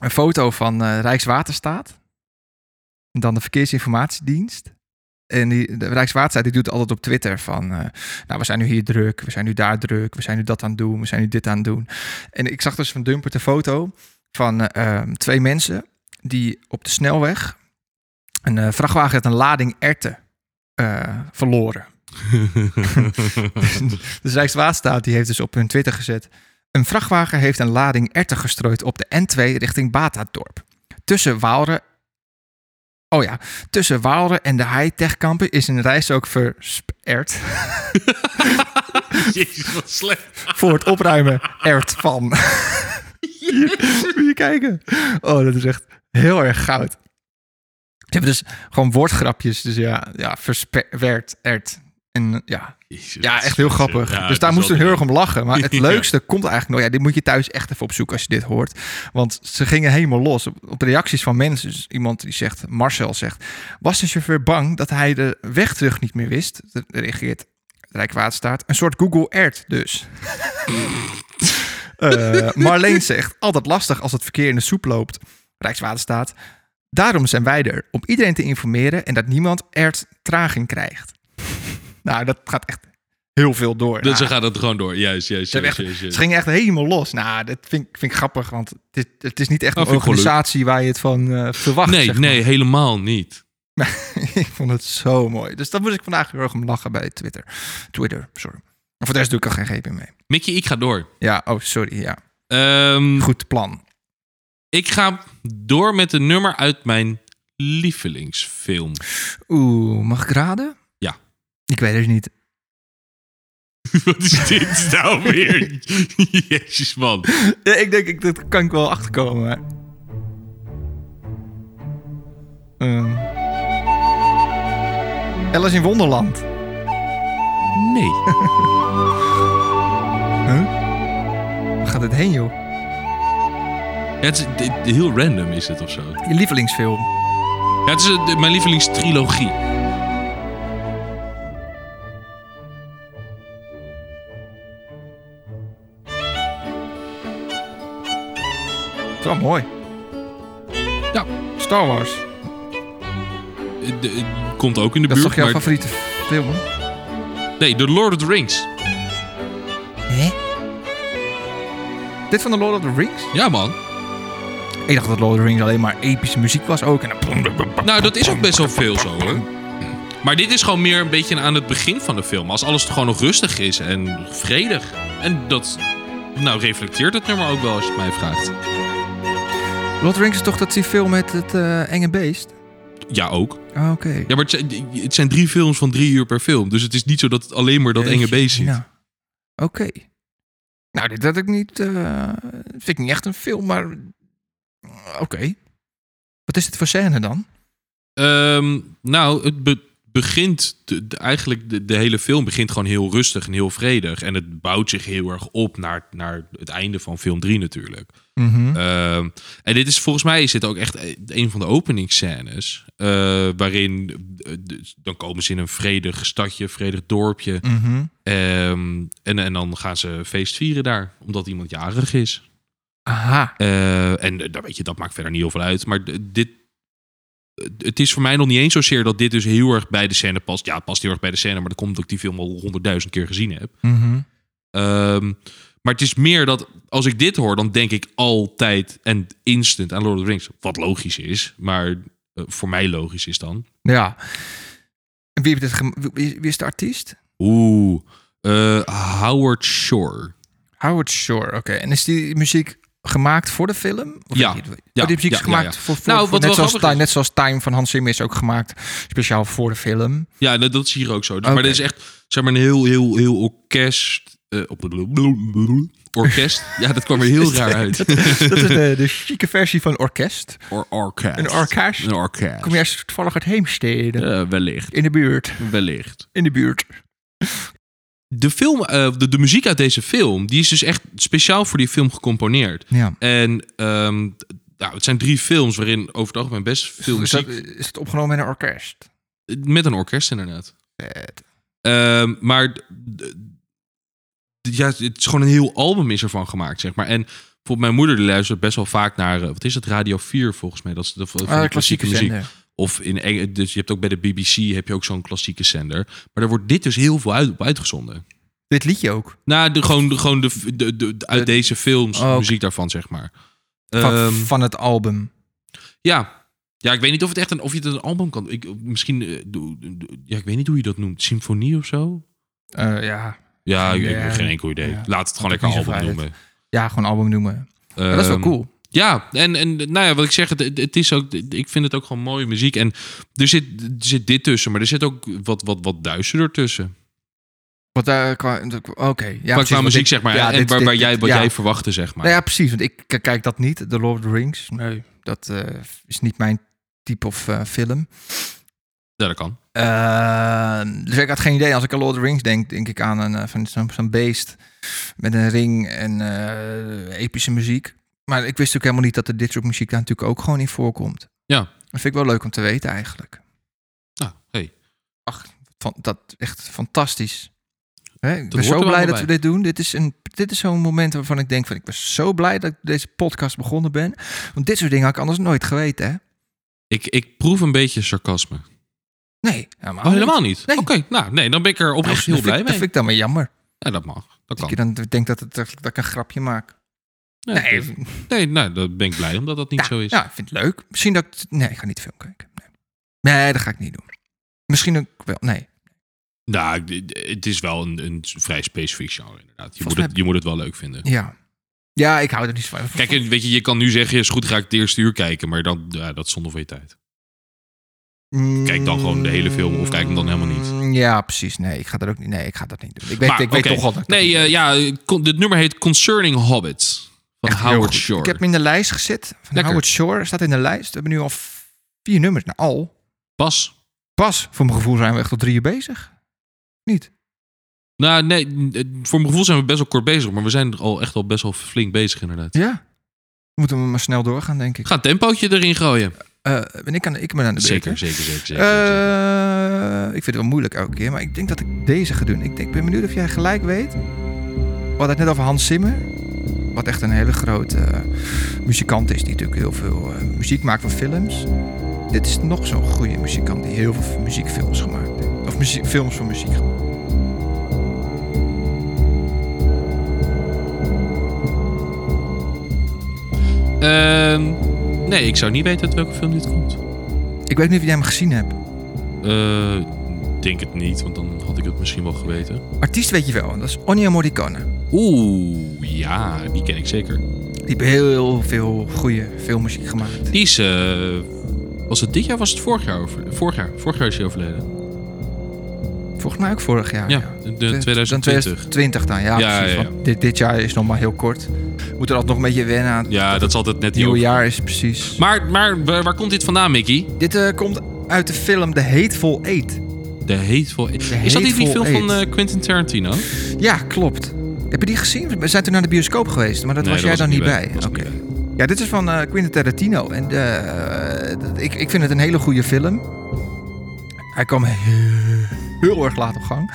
B: een foto van eh, Rijkswaterstaat. En dan de Verkeersinformatiedienst. En die, de Rijkswaterstaat die doet altijd op Twitter van... eh, nou, we zijn nu hier druk, we zijn nu daar druk, we zijn nu dat aan het doen, we zijn nu dit aan het doen. En ik zag dus van Dumpert een foto van eh, ehm, twee mensen die op de snelweg een eh, vrachtwagen had een lading erten eh, verloren. Dus Rijkswaterstaat die heeft dus op hun Twitter gezet. Een vrachtwagen heeft een lading erten gestrooid op de N2 richting Batadorp. Tussen Waalre. Oh ja, tussen Waalre en de high-tech kampen is een reis ook versperd.
A: (laughs) Jezus, wat slecht.
B: voor het opruimen ert van. Hier, moet je kijken. Oh, dat is echt heel erg goud. Ze hebben dus gewoon woordgrapjes. Dus ja, ja versperd ert. En ja,
A: Jezus,
B: ja,
A: wat
B: echt heel
A: slecht,
B: grappig.
A: zeg. Ja,
B: dus
A: het
B: daar
A: is
B: moesten we
A: wel
B: heel erg om lachen. Maar het
A: (laughs) Ja.
B: leukste komt eigenlijk nog. Ja, dit moet je thuis echt even opzoeken als je dit hoort. Want ze gingen helemaal los op, op reacties van mensen. Dus iemand die zegt, Marcel zegt... Was de chauffeur bang dat hij de weg terug niet meer wist? Dat Reageert Rijkwaterstaat. Een soort Google Earth dus.
A: (laughs)
B: Eh, Marleen zegt, altijd lastig als het verkeer in de soep loopt. Rijkswaterstaat. Daarom zijn wij er, om iedereen te informeren en dat niemand er traging krijgt. (laughs) Nou, dat gaat echt heel veel door.
A: Dus
B: Nou,
A: ze gaat het gewoon door. Juist, juist,
B: ze, hebben
A: juist,
B: echt,
A: juist,
B: ze
A: juist.
B: gingen echt helemaal los. Nou, dat vind, ik- vind ik grappig, want het is, het is niet echt
A: Oh,
B: een
A: vind ik wel leuk.
B: organisatie waar je het van eh, verwacht.
A: Nee,
B: zeg maar.
A: nee, helemaal niet.
B: (laughs) ik vond het zo mooi. Dus daar moest ik vandaag heel erg om lachen bij Twitter. Twitter, sorry. Maar voor de rest doe ik er geen greep in mee.
A: Mickey, ik ga door.
B: Ja, oh, sorry, ja.
A: Ehm,
B: Goed plan.
A: ik ga door met een nummer uit mijn lievelingsfilm. (laughs)
B: Oeh, mag ik raden?
A: Ja.
B: Ik weet het niet.
A: Wat is dit nou weer? (laughs) Jezus, man.
B: Ja, ik denk, ik, dat kan ik wel achterkomen. Maar... Ehm. Alice in Wonderland.
A: Nee.
B: Waar gaat dit heen, joh?
A: Ja, het is, dit- heel random is het of zo.
B: Je lievelingsfilm.
A: Ja, het is eh, mijn lievelingstrilogie.
B: Zo mooi.
A: Ja.
B: Star Wars.
A: Eh, de- eh, komt ook in de
B: Dat is
A: buurt.
B: toch jouw
A: maar-
B: favoriete film?
A: Nee, The Lord of the Rings.
B: Hè? Dit van de Lord of the Rings?
A: Ja, man.
B: Ik dacht dat Lord of the Rings alleen maar epische muziek was ook. En dan...
A: Nou, dat is ook best wel veel zo, hoor. Maar dit is gewoon meer een beetje aan het begin van de film. Als alles gewoon nog rustig is en vredig. En dat... Nou, reflecteert het nummer ook wel als je het mij vraagt.
B: Lord of the Rings is toch dat die film met het eh, enge beest?
A: Ja, ook.
B: Ah, Oké.
A: Ja, maar het zijn, het zijn drie films van drie uur per film. Dus het is niet zo dat het alleen maar dat enge
B: Jeetje,
A: beest is.
B: nou. Oké. Nou, dit had ik niet... eh, vind ik niet echt een film, maar... eh, Oké. Wat is dit voor scène dan?
A: Ehm, nou, het be- begint de- de- eigenlijk de, de hele film begint gewoon heel rustig en heel vredig. En het bouwt zich heel erg op naar, naar het einde van film 3 natuurlijk. Ehm, en dit is volgens mij is dit ook echt e- een van de openingsscènes. eh, waarin eh, dus dan komen ze in een vredig stadje, vredig dorpje.
B: Mhm.
A: Ehm, en, en dan gaan ze feest vieren daar, omdat iemand jarig is.
B: Aha.
A: Eh, en eh, dat, weet je, dat maakt verder niet heel veel uit. Maar d- dit. Het is voor mij nog niet eens zozeer dat dit dus heel erg bij de scène past. Ja, het past heel erg bij de scène, maar dat komt dat ik die film al honderdduizend keer gezien heb.
B: Mhm.
A: Ehm, maar het is meer dat als ik dit hoor, dan denk ik altijd en instant aan Lord of the Rings. Wat logisch is, maar eh, voor mij logisch is dan.
B: Ja. En Wie, heeft dit gem- wie- wie is de artiest?
A: Oeh, eh, Howard Shore.
B: Howard Shore, oké. En is die muziek gemaakt voor de film? Of
A: Ja.
B: weet je het?
A: Ja,
B: Oh, die muziek
A: ja,
B: is gemaakt
A: ja, ja.
B: voor, voor,
A: Nou,
B: voor-
A: wat
B: net,
A: wel
B: zoals
A: grappig
B: Time,
A: is-
B: net zoals Time van Hans Zimmer is ook gemaakt speciaal voor de film.
A: (laughs) Ja, dat, dat is hier ook zo. Dus- Maar
B: Oké.
A: dit is echt, zeg maar, een heel, heel, heel orkest eh, op
B: (laughs)
A: orkest. Ja, dat kwam er heel raar uit.
B: Dat is de, de chique versie van orkest.
A: Or orkest.
B: Een orkest.
A: Een orkest.
B: Kom jij toevallig uit Heemstede?
A: Eh, wellicht.
B: In de buurt.
A: Wellicht.
B: In de buurt.
A: De, film, eh, de, de muziek uit deze film, die is dus echt speciaal voor die film gecomponeerd.
B: Ja.
A: En ehm, d- nou, het zijn drie films waarin over het algemeen best veel
B: Is, Dus dat-
A: muziek...
B: is het opgenomen in een orkest? Eh,
A: Met een orkest inderdaad.
B: Vet.
A: Ehm, maar d- d- ja, het is gewoon een heel album is ervan gemaakt, zeg maar. En bijvoorbeeld mijn moeder die luistert best wel vaak naar, eh, wat is het, Radio 4 volgens mij. Dat is de, van die
B: Ah,
A: klassieke muziek.
B: zender.
A: Of in Eng dus je hebt ook bij de BBC heb je ook zo'n klassieke zender. Maar daar wordt dit dus heel veel uit op uitgezonden.
B: Dit liedje ook.
A: Nou, de, gewoon, de, gewoon de, de, de- de- uit
B: De-
A: deze films,
B: Oh, oké.
A: muziek daarvan, zeg maar.
B: Van,
A: Ehm,
B: van het album.
A: ja. Ja, ik weet niet of het echt een, of je het een album kan. Ik, misschien, eh, doe- doe- ja, ik weet niet hoe je dat noemt. Symfonie of zo?
B: Eh, ja.
A: Ja, ik, ik
B: Ja.
A: heb geen enkel idee.
B: Ja.
A: Laat het gewoon
B: Maakt
A: lekker
B: niet
A: album
B: zoveel uit.
A: noemen.
B: ja, gewoon album noemen. Maar dat is wel
A: Ehm,
B: cool.
A: Ja, en, en nou ja, wat ik zeg, het, het is ook, ik vind het ook gewoon mooie muziek. En er zit, er zit dit tussen, maar er zit ook wat, wat, wat duisterder tussen.
B: Want daar qua, oké. Ja,
A: qua,
B: precies,
A: qua
B: want
A: muziek,
B: dit-
A: zeg maar.
B: ja,
A: en
B: dit-
A: waar,
B: dit-
A: waar jij,
B: dit-
A: wat
B: ja.
A: jij verwachtte, zeg maar.
B: Nou ja, precies. Want ik k- kijk dat niet. The Lord of the Rings. Nee. Dat eh, is niet mijn type of eh, film.
A: Ja, dat kan.
B: Eh, dus ik had geen idee. Als ik aan Lord of the Rings denk, denk ik aan een, eh, van zo'n zo'n beest met een ring en eh, epische muziek. Maar ik wist ook helemaal niet dat er dit soort muziek daar natuurlijk ook gewoon in voorkomt.
A: Ja.
B: Dat vind ik wel leuk om te weten eigenlijk.
A: Nou, hey.
B: Ach, van, dat echt fantastisch. Hè, ik ben
A: hoort er
B: zo blij
A: allemaal
B: dat
A: bij.
B: we dit doen. Dit is, een, dit is zo'n moment waarvan ik denk van ik ben zo blij dat ik deze podcast begonnen ben. Want dit soort dingen had ik anders nooit geweten, hè?
A: Ik, ik proef een beetje sarcasme.
B: Nee, helemaal,
A: Oh, helemaal niet?
B: Nee.
A: Oké, nou, nee, dan ben ik er
B: niet.
A: oprecht
B: Dat
A: heel
B: vind ik-
A: blij
B: Dat
A: mee.
B: vind ik dan maar jammer.
A: Ja, dat mag. Dat
B: Dat
A: kan.
B: ik dan denk dat, het, dat ik een grapje maak.
A: Ja,
B: Nee,
A: dat- nee, nou, dan ben ik blij omdat dat niet
B: ja,
A: zo is.
B: Ja, ik vind het leuk. Misschien dat ik... t- Nee, ik ga niet de film kijken. Nee, nee dat ga ik niet doen. Misschien ook wel... Nee.
A: Nou, d- d- het is wel een, een vrij specifiek genre, inderdaad. Je
B: Volgens
A: moet,
B: mij-
A: het, je moet het wel leuk vinden.
B: Ja. Ja, ik hou er niet van.
A: Kijk, en weet je, je kan nu zeggen, is goed, ga ik het eerste uur kijken. Maar dan, ja, dat is zonde van je tijd. kijk dan gewoon de hele film of kijk hem dan helemaal
B: niet. Mm, Ja, precies. Nee, ik ga dat ook niet... Nee, ik ga dat niet doen. Ik weet,
A: Maar,
B: ik weet
A: oké.
B: toch al dat ik dat
A: Nee,
B: niet
A: eh,
B: doe.
A: ja, con- dit nummer heet Concerning Hobbit. Van
B: Echt heel
A: Howard
B: goed.
A: Shore.
B: Ik heb hem in de lijst gezet. Van
A: Lekker.
B: Howard Shore staat in de lijst. We hebben nu al vier nummers. Nou, al.
A: Pas.
B: Pas, voor mijn gevoel zijn we echt tot drie uur bezig. Niet?
A: Nou, nee, n- eh, voor mijn gevoel zijn we best wel kort bezig. Maar we zijn er al echt al best wel flink bezig, inderdaad.
B: Ja. Moeten we maar snel doorgaan, denk ik.
A: Ga een tempootje erin gooien.
B: Eh, ben ik, aan de, ik ben aan de beurt, hè?
A: Zeker, zeker, zeker. zeker, zeker.
B: Eh, ik vind het wel moeilijk elke keer, maar ik denk dat ik deze ga doen. Ik, denk, ik ben benieuwd of jij gelijk weet. We hadden het net over Hans Zimmer. Wat echt een hele grote eh, muzikant is, die natuurlijk heel veel eh, muziek maakt voor films. Dit is nog zo'n goede muzikant die heel veel muziekfilms gemaakt heeft. Of muziek, films voor muziek.
A: Ehm, nee, ik zou niet weten uit welke film dit komt.
B: Ik weet niet of jij hem gezien hebt.
A: Eh, Ik denk het niet, want dan had ik het misschien wel geweten.
B: Artiest weet je wel, dat is Ennio Morricone.
A: Oeh, ja, die ken ik zeker.
B: Die heeft heel veel goede filmmuziek gemaakt.
A: Die is. eh, was het dit jaar? Was het vorig jaar? Over, vorig jaar. Vorig jaar is hij overleden.
B: Volgens mij ook vorig jaar.
A: Ja, de, de 2020.
B: 2020 dan, ja.
A: Ja,
B: precies,
A: ja,
B: want dit, dit jaar is nog maar heel kort. Moet er altijd nog een beetje wennen aan.
A: Ja, dat is altijd net
B: het
A: die
B: nieuwe
A: over-
B: jaar is precies.
A: Maar, maar waar, waar komt dit vandaan, Mickey?
B: Dit eh, komt uit de film The Hateful Eight.
A: De Hateful Eight.
B: The
A: Is dat niet die
B: Hateful
A: film van
B: Eight.
A: eh, Quentin Tarantino? Nee,
B: Ja, klopt. Heb je die gezien? We zijn toen naar de bioscoop geweest, maar dat was jij
A: ik
B: dan niet bij.
A: Was
B: Oké.
A: ik niet bij.
B: Ja, dit is van eh, Quentin Tarantino. En eh, dat- ik, ik vind het een hele goede film. Hij kwam heel, heel erg laat op gang.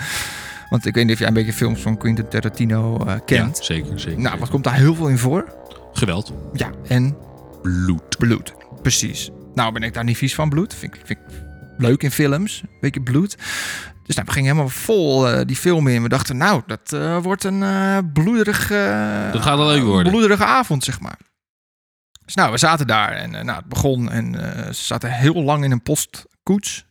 B: Want ik weet niet of jij een beetje films van Quentin Tarantino eh, kent.
A: Ja, zeker, zeker.
B: Nou, wat komt daar heel veel in voor?
A: Geweld.
B: Ja, en (laughs)
A: Bloed.
B: Bloed, precies. Nou ben ik daar niet vies van, bloed. Vind ik, vind ik leuk in films, een beetje bloed. Dus nou, we gingen helemaal vol eh, die film in. We dachten, nou, dat eh, wordt een eh bloederig... eh,
A: Dat gaat wel leuk worden.
B: bloederige avond, zeg maar. Dus nou, we zaten daar en eh, nou, het begon. En eh, ze zaten heel lang in een postkoets.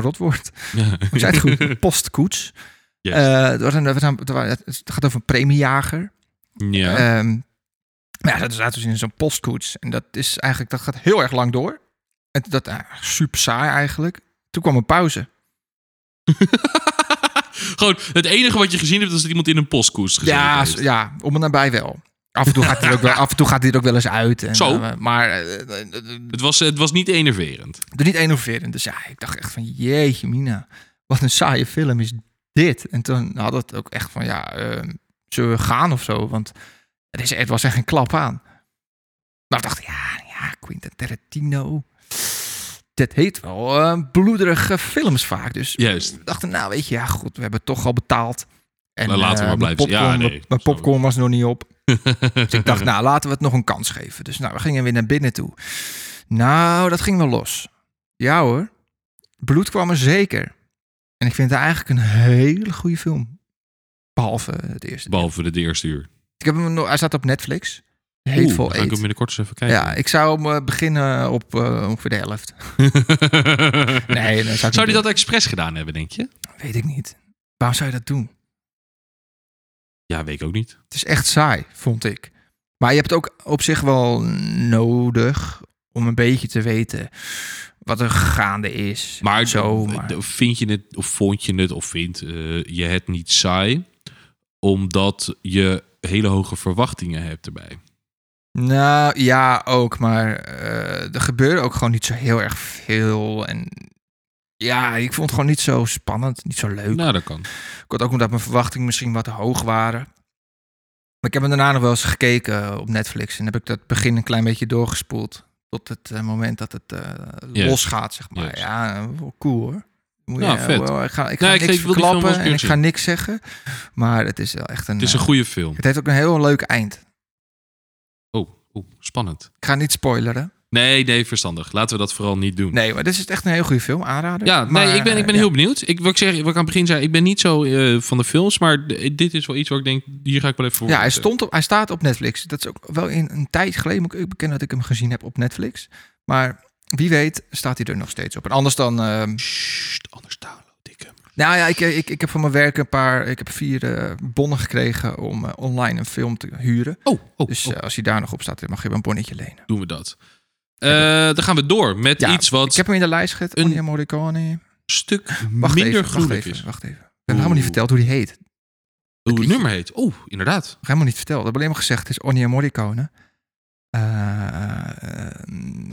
A: (laughs)
B: rotwoord.
A: Ja.
B: Ik zei het goed, een postkoets.
A: Yes.
B: Eh, het was een- het was een- het was- het gaat over een premiejager.
A: (laughs) ja.
B: Ehm, maar ja, dat zaten dus in zo'n postkoets. En dat is eigenlijk, dat gaat heel erg lang door. En dat eh, super saai eigenlijk. Toen kwam een pauze.
A: gewoon het enige wat je gezien hebt, is dat iemand in een postkoets gezeten
B: Ja,
A: heeft.
B: s- ja, om en nabij wel. Af en toe gaat dit ook
A: (laughs)
B: wel, af en toe gaat dit ook wel eens uit. En,
A: Zo.
B: eh, maar eh, eh, eh, eh,
A: Het was, het was niet enerverend.
B: er niet enerverend. Dus ja, ik dacht echt van jeetje mina, wat een saaie film is dit. En toen had het ook echt van ja, eh, zullen we gaan of zo? Want het, is, het was echt een klap aan. Maar ik dacht, ja, ja, Quentin Tarantino. Dat heet wel eh, bloederige films vaak. Dus
A: Juist.
B: we dachten, nou weet je, ja goed, we hebben het toch al betaald. En
A: Nou, laten we
B: eh,
A: maar
B: mijn
A: blijven- ja,
B: popcorn-
A: nee,
B: mijn-
A: snap
B: Mijn
A: ik.
B: popcorn was nog niet op. dus
A: (laughs)
B: ik dacht, nou laten we het nog een kans geven. Dus nou, we gingen weer naar binnen toe. Nou, dat ging wel los. Ja hoor, bloed kwam er zeker. En ik vind het eigenlijk een hele goede film. Behalve het eerste.
A: Behalve de eerste uur.
B: Ik heb hem nog, hij staat op Netflix.
A: Oeh,
B: Hateful
A: dan ga ik
B: Eight.
A: hem binnenkort eens even kijken. (laughs)
B: Ja, ik zou hem eh, beginnen op eh, ongeveer de helft. Nee, dat zou ik
A: Zou
B: niet
A: hij dat expres gedaan hebben, denk je?
B: doen. Weet ik niet. Waarom zou je dat doen?
A: Ja, weet ik ook niet.
B: Het is echt saai, vond ik. Maar je hebt het ook op zich wel nodig om een beetje te weten wat er gaande is.
A: Maar,
B: zo, maar-
A: d- vind je het, of vond je het, of vindt eh, je het niet saai? Omdat je hele hoge verwachtingen hebt erbij.
B: Nou ja, ook, maar eh, er gebeurde ook gewoon niet zo heel erg veel. En ja, ik vond het gewoon niet zo spannend, niet zo leuk.
A: Nou, dat kan.
B: Ik had ook omdat mijn verwachtingen misschien wat te hoog waren. Maar ik heb hem daarna nog wel eens gekeken op Netflix. En heb ik dat begin een klein beetje doorgespoeld. Tot het eh, moment dat het eh,
A: Juist.
B: losgaat, zeg maar.
A: Juist.
B: Ja, eh, wel cool hoor. Moet
A: Nou,
B: je, eh,
A: vet.
B: wel, ik ga, ik ga
A: Nou, ik
B: niks
A: geef- wil die film wel
B: verklappen
A: eens
B: en ik
A: een keer
B: ga niks zeggen. Maar het is wel echt een...
A: Het is
B: eh,
A: een goede film.
B: het heeft ook een heel leuk eind.
A: Oh, oh, spannend.
B: Ik ga niet spoileren.
A: Nee, nee, verstandig. Laten we dat vooral niet doen.
B: Nee, maar dit is echt een heel goede film. Aanrader.
A: Ja,
B: Maar,
A: nee, ik ben, ik ben
B: eh,
A: heel benieuwd. Ik, wat, ik zeg, wat ik aan het begin zei, ik ben niet zo eh, van de films, maar d- dit is wel iets waar ik denk, hier ga ik wel even voor.
B: Ja, hij,
A: zitten.
B: stond op, hij staat op Netflix. Dat is ook wel in een tijd geleden. Moet ik ook bekennen dat ik hem gezien heb op Netflix. Maar wie weet staat hij er nog steeds op. En anders dan... ehm,
A: Sst, anders download ik hem.
B: nou ja, ik, ik, ik heb van mijn werk een paar... Ik heb vier eh, bonnen gekregen om eh, online een film te huren.
A: Oh, oh,
B: Dus
A: oh,
B: eh, als hij daar nog op staat, dan mag je wel een bonnetje lenen.
A: doen we dat. Eh, dan gaan we door met
B: Ja,
A: iets wat
B: Ik heb hem in de lijst gezet.
A: Een-
B: Ennio Morricone.
A: een stuk
B: Wacht
A: minder
B: even, wacht
A: gruwelijk
B: even,
A: is.
B: wacht even. Ik heb helemaal niet
A: Oeh.
B: verteld hoe die heet. Ik
A: Hoe het
B: liedje.
A: nummer heet. Oh, inderdaad.
B: heb helemaal niet verteld. Ik heb alleen maar gezegd, het is Ennio Morricone. Eh, eh,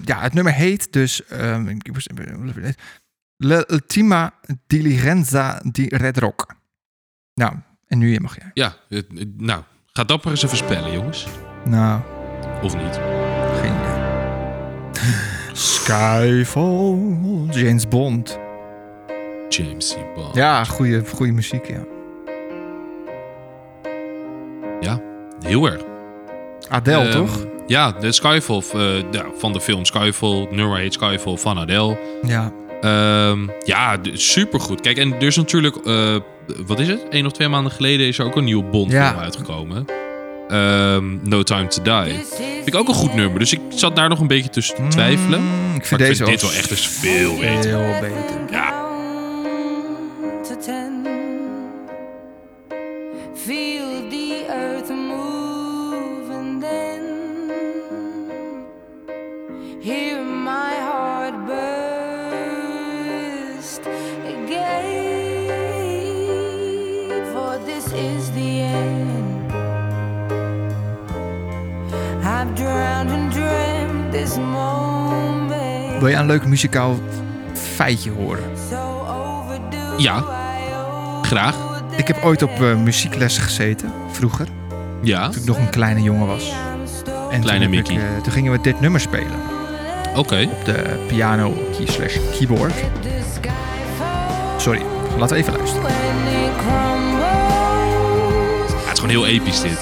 B: ja, het nummer heet dus... ehm, ik moest- La Ultima Diligenza di Red Rock. Nou, en nu mag jij.
A: Ja, het- het- nou, ga dat maar eens even spellen, jongens.
B: Nou...
A: Of niet.
B: Geen idee. Skyfall, James Bond.
A: James C. Bond.
B: Ja, goede, goede muziek, ja.
A: Ja, heel erg.
B: Adele,
A: Ehm,
B: toch?
A: Ja, de Skyfall eh, ja, van de film Skyfall. het Nummer heet Skyfall van Adele.
B: Ja.
A: Ehm, ja, d- supergoed. Kijk, en er is natuurlijk, eh, wat is het? Eén of twee maanden geleden is er ook een nieuwe Bond
B: Ja.
A: film uitgekomen. Ehm, no Time to Die. Vind ik ook een goed nummer, dus ik zat daar nog een beetje tussen te twijfelen. maar
B: Mm, ik
A: ik
B: vind
A: vind
B: deze
A: dit wel echt eens veel beter.
B: Veel beter.
C: Ja. To ten. Feel the earth move and then hear my heart burst again. For this is the end. I've drowned and dreamt this moment.
B: Wil je een leuk muzikaal feitje horen?
A: Ja. Graag.
B: Ik heb ooit op eh, muzieklessen gezeten, vroeger,
A: Ja,
B: toen ik nog een kleine jongen was. En
A: Kleine
B: toen, heb ik,
A: Mickey.
B: eh, toen gingen we dit nummer spelen.
A: oké.
B: Op de piano key slash keyboard. Sorry, laten we even luisteren.
A: Ja, het is gewoon heel episch dit.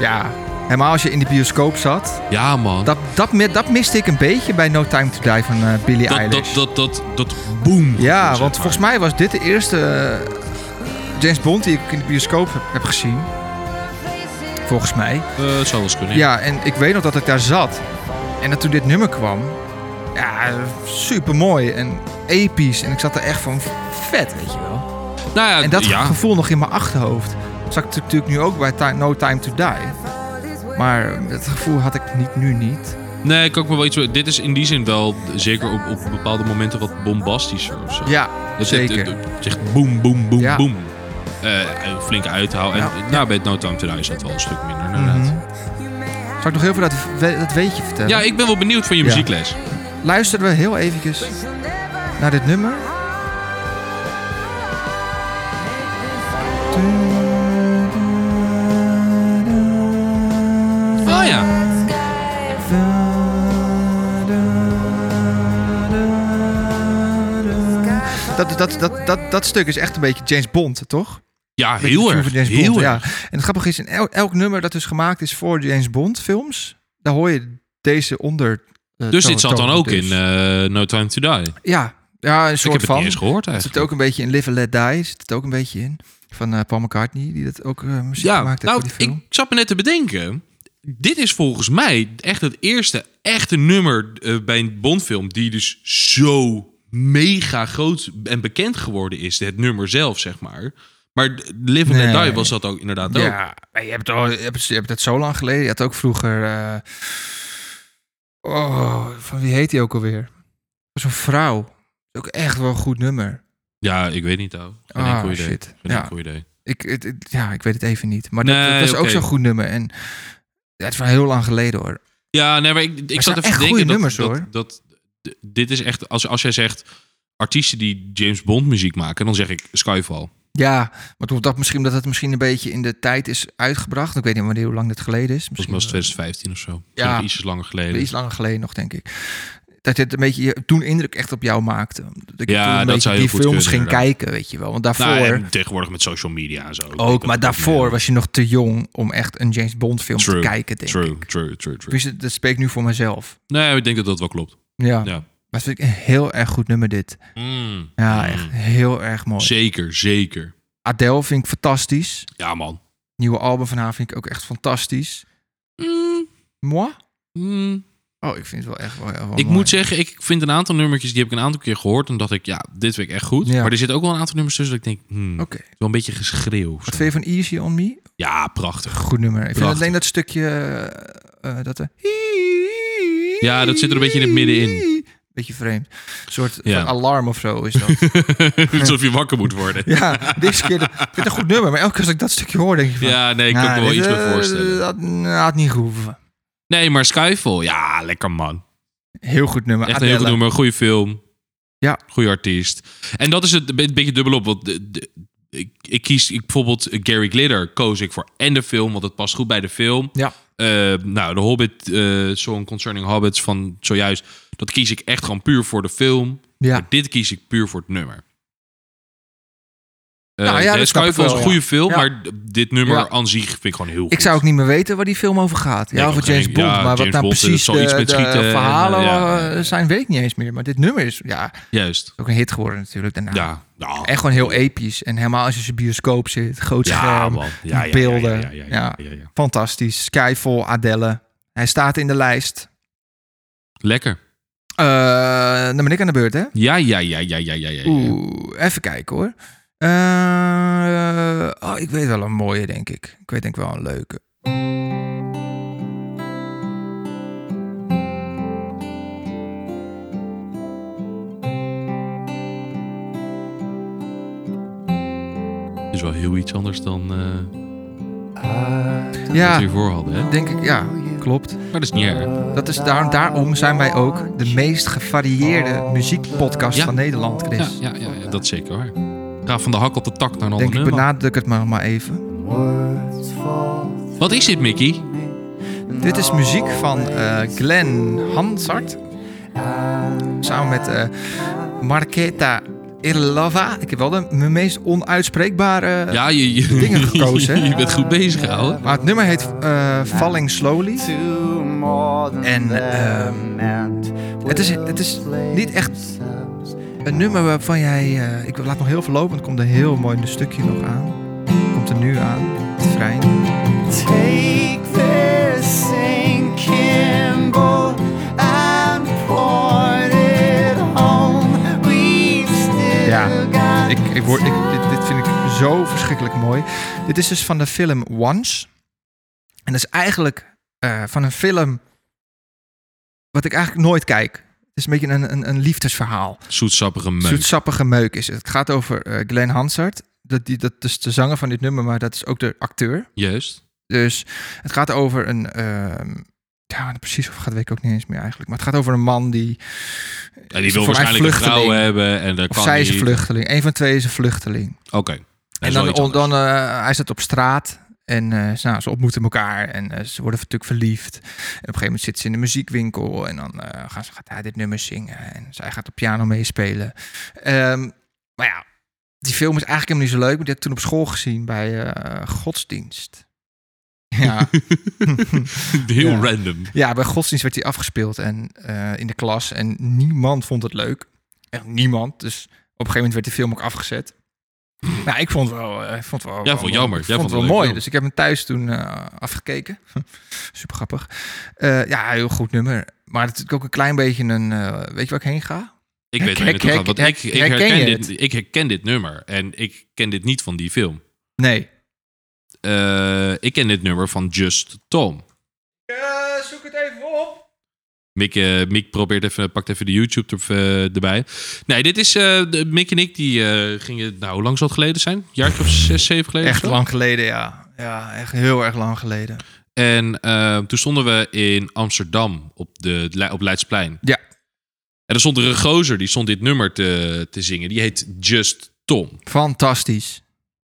B: Ja, helemaal als je in de bioscoop zat,
A: Ja, man. Dat,
B: Dat, dat, mi- dat miste ik een beetje bij No Time To Die van eh Billie
A: dat,
B: Eilish.
A: dat, dat, dat, boom.
B: ja, want volgens mij was dit de eerste eh, James Bond die ik in de bioscoop heb, heb gezien. Volgens mij.
A: mij... het Eh, zou wel eens kunnen.
B: Ja, en ik weet nog dat ik daar zat. En dat toen dit nummer kwam. Ja, super mooi en episch. En ik zat er echt van vet, weet je wel.
A: Nou ja,
B: En dat
A: ja.
B: gevoel nog in mijn achterhoofd. Dat zat ik natuurlijk nu ook bij Ti- No Time To Die. Maar eh, dat gevoel had ik niet, nu niet.
A: Nee, kan ik me wel iets... Dit is in die zin wel zeker op, op bepaalde momenten wat bombastischer of zo.
B: Ja,
A: Het-
B: zeker.
A: Het, het- het zegt boem, boem, boem,
B: Ja.
A: boem. Eh, flink uithaal. En
B: Ja. Mhm.
A: nou, bij het No Time To Die is dat wel een stuk minder inderdaad.
B: Zal ik nog heel veel dat, we- dat weetje vertellen?
A: Ja, ik ben wel benieuwd van je
B: Ja.
A: muziekles.
B: Luisteren we heel eventjes naar dit nummer.
A: Oh ja.
B: Dat, dat, dat, dat, dat stuk is echt een beetje James Bond, toch?
A: Ja,
B: Beetje
A: heel
B: de tune
A: erg.
B: van James
A: Heel
B: Bond,
A: erg.
B: Ja. En het grappige is, in el- elk nummer dat dus gemaakt is voor James Bond films, daar hoor je deze onder. eh,
A: Dus
B: toon-
A: dit zat dan
B: toon-
A: ook
B: dus.
A: in eh, No Time To Die.
B: ja, ja, een
A: Ik
B: soort
A: heb het
B: van.
A: niet eens gehoord
B: Het
A: eigenlijk.
B: zit ook een beetje in Live and Let Die. Zit het ook een beetje in. Van eh, Paul McCartney, die dat ook eh, muziek
A: ja,
B: gemaakt heeft
A: nou,
B: voor die
A: ik
B: film.
A: zat me net te bedenken. Dit is volgens mij echt het eerste echte nummer eh, bij een Bondfilm... die dus zo mega groot en bekend geworden is. Het nummer zelf, zeg maar. Maar Live and Let
B: Nee.
A: Die was dat ook inderdaad ook.
B: Ja, maar je hebt, het al, je, hebt, het- je hebt het zo lang geleden. Je had ook vroeger... eh, oh, van wie heet die ook alweer? Zo'n vrouw. Ook echt wel een goed nummer.
A: Ja, ik weet niet, ouwe. Geen
B: Ah,
A: enkel idee.
B: shit.
A: Geen
B: Ja.
A: enkel idee.
B: Ik, het, het- ja, ik weet het even niet. Maar dat,
A: Nee,
B: dat was ook
A: oké.
B: zo'n goed nummer. En ja, het is wel heel lang geleden hoor.
A: Ja, nee, maar ik, ik
B: het
A: zat
B: zijn
A: even te
B: echt
A: denken
B: goede
A: dat,
B: nummers,
A: dat,
B: hoor.
A: dat- d- dit is echt... Als, als jij zegt artiesten die James Bond muziek maken... dan zeg ik Skyfall.
B: Ja, maar toen dat misschien, omdat het misschien een beetje in de tijd is uitgebracht. Ik weet niet wanneer hoe lang dit geleden is.
A: Volgens
B: Misschien
A: mij was het 2015 of zo.
B: Ja.
A: Ja. Iets langer geleden.
B: wel iets langer geleden nog, denk ik. Dat het een beetje je- toen indruk echt op jou maakte. Dat ik
A: Ja,
B: toen een
A: dat
B: beetje
A: zou heel
B: die
A: goed
B: films
A: kunnen,
B: ging
A: inderdaad.
B: kijken, weet je wel. Want daarvoor
A: Nou, en tegenwoordig met social media en zo. Ik denk dat
B: ook, maar
A: het
B: daarvoor
A: meer-
B: was je nog te jong om echt een James Bond film
A: True,
B: te kijken, denk
A: True,
B: ik.
A: true, true, true.
B: Dus het- dat spreekt nu voor mezelf.
A: Nee, ik denk dat dat wel klopt.
B: Ja.
A: Ja.
B: Maar het vind ik een heel erg goed nummer dit.
A: Mm.
B: Ja,
A: Mm.
B: echt heel erg mooi.
A: Zeker, zeker.
B: Adele vind ik fantastisch.
A: Ja, man.
B: Nieuwe album van haar vind ik ook echt fantastisch.
A: Mm,
B: Moi?
A: mm.
B: Oh, ik vind het wel echt wel, echt wel
A: Ik
B: mooi.
A: moet zeggen, ik vind een aantal nummertjes... die heb ik een aantal keer gehoord. En dacht ik, ja, dit vind ik echt goed.
B: Ja.
A: Maar er zitten ook wel een aantal nummers tussen dat ik denk... hmm,
B: Oké.
A: het is wel een beetje geschreeuw. of
B: Wat
A: zo.
B: vind je van Easy On Me?
A: Ja,
B: (laughs)
A: prachtig. (laughs)
B: Goed nummer. Ik vind
A: Prachtig.
B: alleen dat stukje... eh, eh, dat er...
A: Ja, dat zit er een beetje in het midden in.
B: Beetje vreemd. Een soort
A: Ja.
B: van alarm of zo is
A: (laughs)
B: dat.
A: Alsof je wakker moet worden. Ja,
B: ja, deze keer... Ik vind het een goed nummer, maar elke keer als ik dat stukje hoor, denk ik van...
A: nee, ik kan
B: nou,
A: me wel
B: dit,
A: iets
B: eh,
A: bij voorstellen.
B: Dat nou, had niet gehoeven.
A: Nee, maar Skyfall, ja, lekker man.
B: Heel goed nummer.
A: Echt een heel goed
B: Adele.
A: nummer, goede film.
B: Ja.
A: Goede artiest. En dat is het een be- beetje dubbelop. Want de- de- ik, ik kies ik, bijvoorbeeld eh, Gary Glitter koos ik voor en de film, want het past goed bij de film.
B: Ja.
A: Eh, nou, de Hobbit eh, Song Concerning Hobbits van zojuist, dat kies ik echt gewoon puur voor de film.
B: Ja.
A: Maar dit kies ik puur voor het nummer. Eh,
B: Nou ja,
A: eh,
B: dat snap ik
A: Skyfall is
B: wel,
A: een goede
B: ja.
A: film,
B: Ja.
A: maar d- dit nummer
B: Ja.
A: aan zich vind ik gewoon heel goed.
B: Ik zou ook niet meer weten waar die film over gaat. Ja,
A: Nee,
B: over
A: ik ook
B: James
A: geen-
B: Bond.
A: ja,
B: maar wat
A: James
B: nou
A: Bond, er
B: precies
A: zal iets
B: de,
A: met
B: de
A: schieten en,
B: verhalen
A: eh, ja,
B: eh,
A: ja.
B: zijn, weet ik niet eens meer. Maar dit nummer is ja, is
A: Juist.
B: ook een hit geworden natuurlijk daarna.
A: Ja. ja.
B: En eh, gewoon heel episch. En helemaal als je in zijn bioscoop zit. Groot
A: Ja,
B: scherm,
A: man. Ja, ja, ja,
B: beelden.
A: ja, ja, ja, ja, ja.
B: Fantastisch. Skyfall, Adele. Hij staat in de lijst.
A: Lekker.
B: Eh, dan ben ik aan de beurt, hè?
A: Ja, ja, ja, ja, ja, ja, ja. ja.
B: Oeh, even kijken hoor. Eh, oh, ik weet wel een mooie, denk ik. Ik weet denk ik wel een leuke.
A: is wel heel iets anders dan eh wat we
B: Ja,
A: hiervoor hadden, hè?
B: denk ik. Ja, klopt.
A: Maar dat is niet erg.
B: Dat is daar, daarom zijn wij ook de meest gevarieerde muziekpodcast
A: Ja.
B: van Nederland, Chris.
A: Ja, ja, ja, ja, dat is zeker waar. Ga van de hak op de tak naar een ander
B: Denk ik,
A: nummer.
B: benadruk het maar, maar even.
A: Wat is dit, Mickey?
B: Eh, Dit is muziek van eh, Glenn Hansard. Samen met eh Marketa Irlava. Ik heb wel de m- meest onuitspreekbare
A: Ja, je, je, (laughs)
B: dingen gekozen, hè?
A: je bent goed bezig, ouwe.
B: Maar het nummer heet eh, Falling Slowly. En ehm, het, is, het is niet echt een nummer waarvan jij... eh, ik laat nog heel veel lopen, want er komt een heel mooi stukje nog aan. Komt er nu aan, het vrij.
D: Take this sinking boat and point it home. We've still
B: Ja,
D: got
B: Ik, ik word, ik, dit, dit vind ik zo verschrikkelijk mooi. Dit is dus van de film Once. En dat is eigenlijk eh, van een film Wat ik eigenlijk nooit kijk. Het is een beetje een, een, een liefdesverhaal.
A: Zoetsappige meuk.
B: Zoetsappige meuk is het. Het gaat over eh, Glenn Hansard. Dat, die, dat is de zanger van dit nummer, maar dat is ook de acteur.
A: Juist.
B: Dus het gaat over een... ehm, ja, precies of gaat weet ik ook niet eens meer eigenlijk. Maar het gaat over een man die...
A: En die
B: Is
A: wil
B: voor mij
A: waarschijnlijk een vrouw
B: vluchteling.
A: hebben. En daar
B: Of
A: kan
B: zij is
A: niet-
B: een vluchteling. Een van twee is een vluchteling.
A: Oké.
B: En dan, on- dan eh, hij staat op straat en eh, ze- nou, ze ontmoeten elkaar en eh, ze worden natuurlijk verliefd. En op een gegeven moment zitten ze in de muziekwinkel en dan eh, gaan ze, gaat hij dit nummer zingen en zij gaat de piano meespelen. Ehm, maar ja, die film is eigenlijk helemaal niet zo leuk, maar die heb ik toen op school gezien bij eh, godsdienst. (laughs) Ja,
A: (laughs) Heel
B: Ja.
A: random.
B: ja, bij godsdienst werd die afgespeeld en, eh, in de klas en niemand vond het leuk. Echt niemand. Dus op een gegeven moment werd die film ook afgezet. Nou, ik vond het wel, eh, ik vond het wel,
A: Jij vond het jammer.
B: Ik
A: Jij
B: vond
A: vond het een
B: het wel
A: leuke
B: mooi.
A: film.
B: Dus ik heb hem thuis toen eh, afgekeken. (laughs) Super grappig. Eh, ja, heel goed nummer. Maar het is natuurlijk ook een klein beetje een. eh, weet je waar ik heen ga?
A: Ik
B: Hek-
A: weet waar je
B: hek-
A: naartoe gaat,
B: hek-
A: want
B: hek-
A: ik, ik,
B: herken
A: herken
B: je
A: dit, ik herken dit nummer. En ik ken dit niet van die film.
B: Nee.
A: Eh, ik ken dit nummer van Just Tom.
B: zoek het even op.
A: Mick, eh, Mick probeert even, pakt even de YouTube er, eh, erbij. Nee, dit is... eh, de- Mick en ik die eh, gingen... Nou, hoe lang zal het geleden zijn? Een jaartje of zes, zeven geleden? of
B: Echt
A: zo?
B: lang geleden, ja. Ja, echt heel erg lang geleden.
A: En eh, toen stonden we in Amsterdam op, de, Le- op Leidsplein.
B: Ja.
A: En er stond er een gozer, die stond dit nummer te, te zingen. Die heet Just Tom.
B: Fantastisch.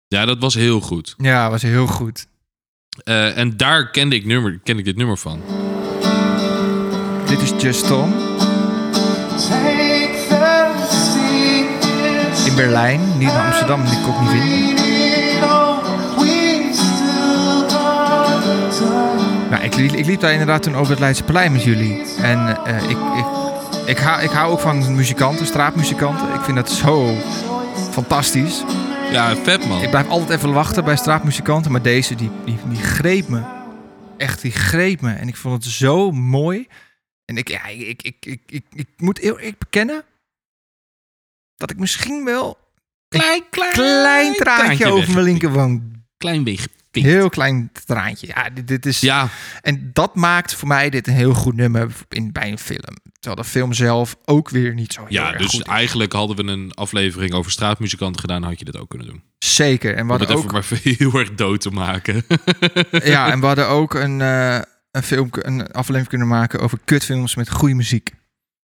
A: Ja, dat was heel goed.
B: Ja, was heel goed.
A: Eh, en daar kende ik, nummer, kende ik dit nummer van.
B: Dit is Just Tom
D: Take the seat.
B: in Berlijn. Niet in Amsterdam, die kon ik niet vinden. Nou, ik, liep- ik liep daar inderdaad toen over het Leidse Plein met jullie. En eh, ik, ik, ik, hou, ik hou ook van muzikanten, straatmuzikanten. Ik vind dat zo fantastisch.
A: Ja, vet man.
B: Ik blijf altijd even wachten bij straatmuzikanten. Maar deze, die, die, die greep me. Echt, die greep me. En ik vond het zo mooi. En ik, ja, ik, ik, ik, ik, ik moet heel eerlijk bekennen... dat ik misschien wel
A: Klein, klein,
B: klein traantje over mijn linkerwang...
A: Klein beetje.
B: Heel klein traantje. Ja, dit, dit is...
A: Ja,
B: En dat maakt voor mij dit een heel goed nummer in, bij een film. Terwijl de film zelf ook weer niet zo heel
A: ja
B: erg
A: dus
B: goed is.
A: eigenlijk hadden we een aflevering over straatmuzikanten gedaan, had je dit ook kunnen doen.
B: Zeker. En we
A: Om
B: hadden
A: het even
B: ook,
A: maar (laughs) heel erg dood te maken.
B: ja, en we hadden ook een, eh, een, film, een aflevering kunnen maken over kutfilms met goede muziek.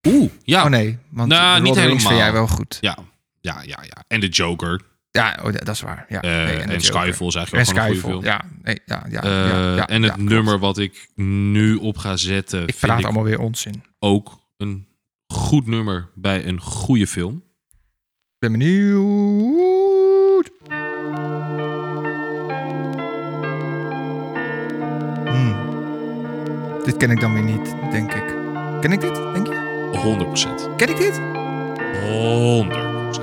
A: Oeh, ja.
B: Oh nee, want
A: Nou,
B: nou,
A: niet
B: niet
A: helemaal.
B: vind jij wel goed.
A: ja. Ja, ja, ja. En de Joker.
B: Ja, oh, dat dat is waar. Ja,
A: eh,
B: nee, de
A: en
B: Joker.
A: Skyfall is eigenlijk ook
B: En
A: gewoon een goede
B: Skyfall.
A: film.
B: Ja, nee, ja, ja,
A: Eh,
B: ja, ja,
A: en het
B: ja, klopt.
A: nummer wat ik nu op ga zetten,
B: Ik
A: vind
B: praat
A: ik
B: allemaal weer onzin. Ik
A: ook een goed nummer bij een goede film.
B: ben benieuwd. Hmm. Dit ken ik dan weer niet, denk ik. Ken ik dit, denk je?
A: 100%.
B: Ken ik dit?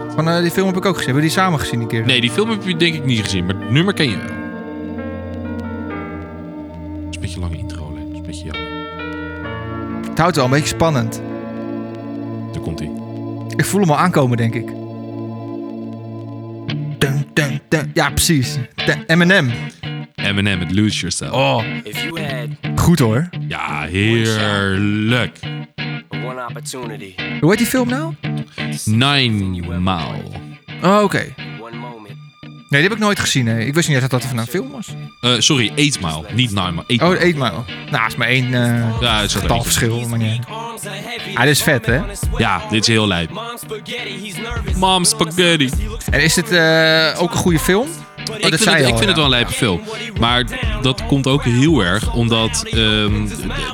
A: 100%.
B: Van eh, die film heb ik ook gezien. Hebben we die samen gezien die keer?
A: Nee, die film heb je denk ik niet gezien, maar het nummer ken je wel. Het is een beetje een lange intro, hè. Dat is een beetje jammer.
B: Het houdt wel een beetje spannend.
A: Daar komt hij.
B: Ik voel hem al aankomen, denk ik. Dun, dun, dun. Ja, precies. Dun, M&M.
A: Eminem met Lose Yourself.
B: Oh,
E: If you had
B: goed hoor.
A: Ja, heerlijk.
E: one opportunity,
B: Hoe heet die film nou?
A: Nine Mile.
B: Oh, oké.
E: one moment.
B: Nee, die heb ik nooit gezien. Hè. Ik wist niet eens dat dat van een film was.
A: Eh, sorry, Eight Mile. Niet Nine Mile. Eight
B: Oh,
A: Mile.
B: eet maar. Nou, is maar één eh,
A: Ja, het is wel leuk.
B: getalverschil. Maar nee. Ah, dit is vet, hè?
A: Ja, dit is heel lijp.
B: Oh,
A: Mom Spaghetti.
B: En is dit eh, ook een goede film? Oh, dat
A: ik vind,
B: zei
A: het,
B: je
A: ik
B: al,
A: vind het wel
B: ja.
A: een lijpe film. Maar dat komt ook heel erg omdat... ehm, de-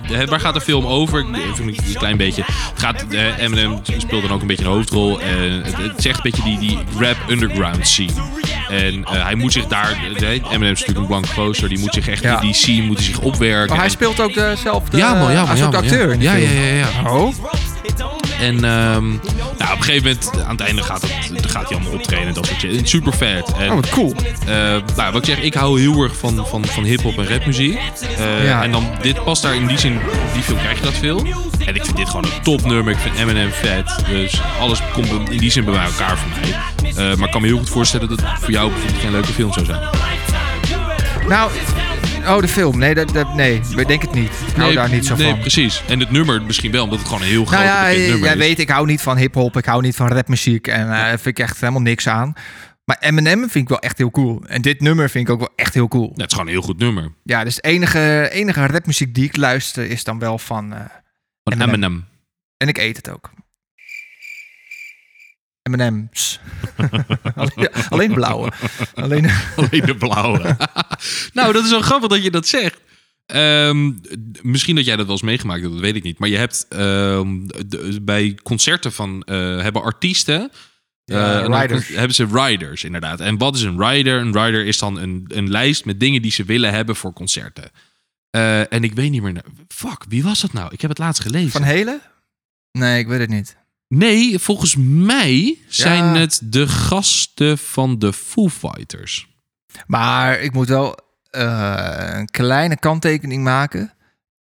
A: de- waar gaat de film over? Ik- Even een klein beetje. Het gaat, eh, Eminem speelt dan ook een beetje een hoofdrol. En het, het zegt een beetje die, die rap underground scene. En eh, hij moet zich daar... eh, Eminem is natuurlijk een blank poster. Die moet zich echt
B: Ja.
A: in die scene moet hij zich opwerken.
B: Oh, hij
A: En-
B: speelt ook dezelfde...
A: ja, man, ja, man,
B: Eh, hij is
A: ja,
B: ook de
A: man,
B: acteur in die
A: ja. ja,
B: film.
A: ja, ja, ja.
B: Oh,
A: En ehm, nou, op een gegeven moment, aan het einde gaat, het, gaat hij allemaal optreden en dat soort shit. Super vet. En,
B: oh, wat cool.
A: eh, nou, wat ik zeg, ik hou heel erg van, van, van hip-hop en rapmuziek. Eh,
B: Ja.
A: En dan, dit past daar in die zin, die film krijg je dat veel. En ik vind dit gewoon een topnummer. Ik vind Eminem vet. Dus alles komt in die zin bij mij elkaar voor mij. Eh, maar ik kan me heel goed voorstellen dat het voor jou bijvoorbeeld geen leuke film zou zijn.
B: Nou, oké, Oh, de film. Nee, dat, dat, nee, ik denk het niet. Ik hou
A: nee,
B: daar niet zo
A: nee,
B: van.
A: precies. En het nummer misschien wel, omdat het gewoon een heel groot
B: Nou ja,
A: bekend nummer
B: jij
A: is.
B: weet, ik hou niet van hip-hop. Ik hou niet van rapmuziek. En eh, daar vind ik echt helemaal niks aan. Maar Eminem vind ik wel echt heel cool. En dit nummer vind ik ook wel echt heel cool.
A: Ja, het is gewoon een heel goed nummer.
B: Ja, dus de enige, enige rapmuziek die ik luister is dan wel van... eh,
A: Van
B: Eminem.
A: Eminem.
B: en ik eet het ook.
A: (laughs)
B: M&M's. alleen, alleen blauwe. Alleen,
A: Alleen de blauwe. (laughs) nou, dat is wel grappig dat je dat zegt. Ehm, d- misschien dat jij dat wel eens meegemaakt hebt, dat weet ik niet. Maar je hebt ehm, d- bij concerten van eh, hebben artiesten. eh, en dan
B: riders.
A: Hebben ze riders, inderdaad. En wat is een rider? Een rider is dan een, een lijst met dingen die ze willen hebben voor concerten. Eh, en ik weet niet meer. na- Fuck, wie was dat nou? Ik heb het laatst gelezen.
B: van Helen? Nee, ik weet het niet.
A: Nee, volgens mij zijn
B: Ja.
A: het de gasten van de Foo Fighters.
B: Maar ik moet wel eh, een kleine kanttekening maken.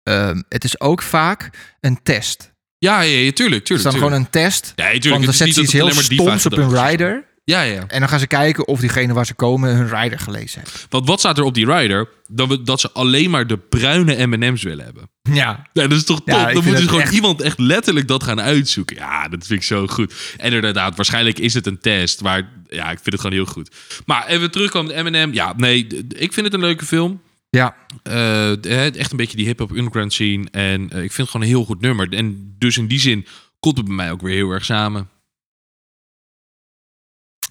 B: Ehm, het is ook vaak een test.
A: Ja, ja, ja tuurlijk,
B: Het is
A: tuurlijk.
B: dan
A: tuurlijk.
B: gewoon een test.
A: Nee, tuurlijk.
B: Want dan
A: het is
B: zetten
A: niet
B: ze iets
A: dat
B: heel
A: het alleen maar diva's
B: stoms op
A: gedaan
B: hun
A: zijn.
B: rider.
A: Ja, ja.
B: En dan gaan ze kijken of diegene waar ze komen hun rider gelezen heeft.
A: Want wat staat er op die rider? Dat, we, dat ze alleen maar de bruine M&M's willen hebben.
B: Ja.
A: Ja, dat is toch
B: Ja, ik
A: top? Dan
B: vind
A: moet dus
B: dat
A: gewoon
B: echt-
A: iemand echt letterlijk dat gaan uitzoeken. Ja, dat vind ik zo goed. En inderdaad, waarschijnlijk is het een test. Maar ja, ik vind het gewoon heel goed. Maar even terugkomen op M&M. Ja, nee, d- ik vind het een leuke film.
B: Ja.
A: Eh, eh, echt een beetje die hip-hop underground scene. En eh, ik vind het gewoon een heel goed nummer. En dus in die zin komt het bij mij ook weer heel erg samen.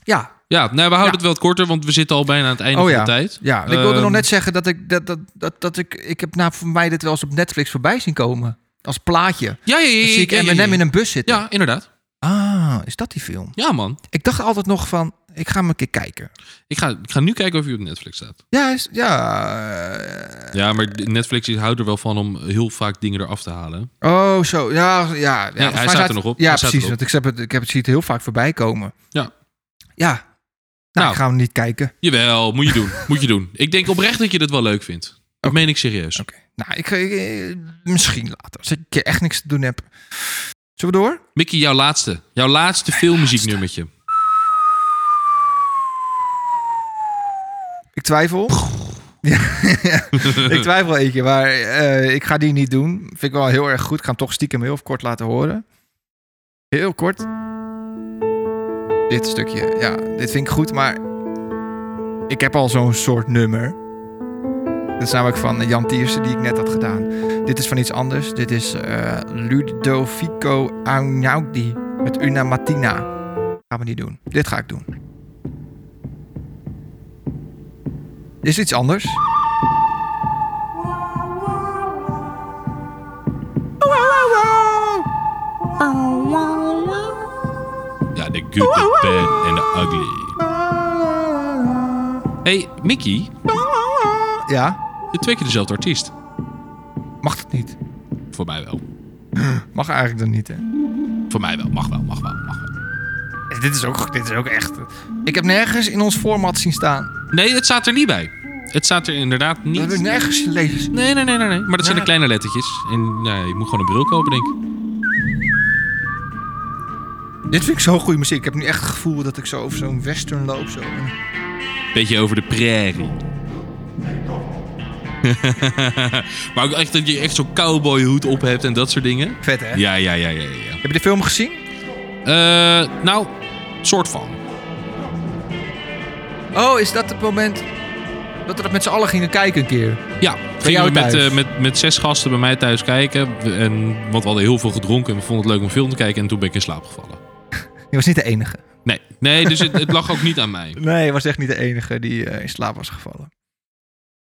B: Ja.
A: Ja, nou, we houden
B: Ja.
A: het wel wat korter, want we zitten al bijna aan het einde
B: Oh
A: van
B: ja.
A: de tijd.
B: Ja. Ik wilde
A: Ehm,
B: nog net zeggen dat ik dat, dat, dat, dat ik ik heb nou voor mij dit wel eens op Netflix voorbij zien komen als plaatje.
A: Ja, ja, ja.
B: Dan
A: ja,
B: zie ik
A: ja, ja,
B: Eminem
A: ja.
B: in een bus zitten.
A: Ja, inderdaad.
B: Ah, is dat die film?
A: Ja, man.
B: Ik dacht altijd nog van ik ga hem een keer kijken.
A: Ik ga, ik ga nu kijken of hij op Netflix staat.
B: Ja, is, ja. eh,
A: Ja, maar Netflix is- houdt er wel van om heel vaak dingen eraf te halen.
B: Oh, zo. Ja, ja. ja. Volgens mij
A: staat er nog op.
B: Ja,
A: Hij staat erop.
B: precies. Want ik heb het, ik heb het ziet heel vaak voorbij komen.
A: Ja.
B: Ja. Nou,
A: Nou.
B: ik ga hem niet kijken.
A: Jawel, moet je doen. (laughs) moet je doen. Ik denk oprecht dat je dat wel leuk vindt. Dat meen ik serieus.
B: Oké. Nou, ik, ik, eh, misschien later. Als ik een keer echt niks te doen heb. Zullen we door?
A: Mickey, jouw laatste. Jouw laatste filmmuzieknummertje.
B: Ik twijfel. Ja, ja. (laughs)
A: Mhm.
B: ik twijfel eentje, maar eh, ik ga die niet doen. Vind ik wel heel erg goed. Ik ga hem toch stiekem heel kort laten horen. Heel kort. Dit stukje, ja, dit vind ik goed, maar ik heb al zo'n soort nummer. Dit is namelijk van Jan Tiersen, die ik net had gedaan. Dit is van iets anders. Dit is eh, Ludovico Agnaudi met Una Mattina. Gaan we niet doen. Dit ga ik doen. Dit is iets anders.
A: (laughs) Ja, The Good, The Bad and The Ugly. hey, Mickey.
B: Ja,
A: Je hebt twee keer dezelfde artiest.
B: mag dat niet?
A: Voor mij wel.
B: Mag eigenlijk dan niet, hè?
A: Voor mij wel. Mag wel, mag wel, mag wel.
B: Dit is ook, dit is ook echt... eh, Ik heb nergens in ons format zien staan.
A: Nee, het staat er niet bij. Het staat er inderdaad
B: Dat
A: niet.
B: heb ik nergens zien lezen.
A: Nee, nee, nee, nee. nee. Maar dat zijn
B: Ja.
A: de kleine lettertjes. En nou, je moet gewoon een bril kopen, denk ik.
B: Dit vind ik zo goede muziek. Ik heb nu echt het gevoel dat ik zo over zo'n western loop. Zo.
A: Beetje over de prairie. (laughs) maar ook echt dat je echt zo'n cowboyhoed op hebt en dat soort dingen.
B: Vet, hè?
A: Ja, ja, ja, ja, ja. ja.
B: Heb je de film gezien?
A: Eh, nou, soort van.
B: Oh, is dat het moment dat we dat met z'n allen gingen kijken een keer?
A: Ja, gingen
B: jou
A: we met,
B: thuis?
A: eh, met, met zes gasten bij mij thuis kijken. We- En, want we hadden heel veel gedronken en we vonden het leuk om film te kijken. En toen ben ik in slaap gevallen.
B: Je was niet de enige.
A: Nee, nee dus het, het lag ook niet aan mij. (laughs)
B: Nee, je was echt niet de enige die eh, in slaap was gevallen.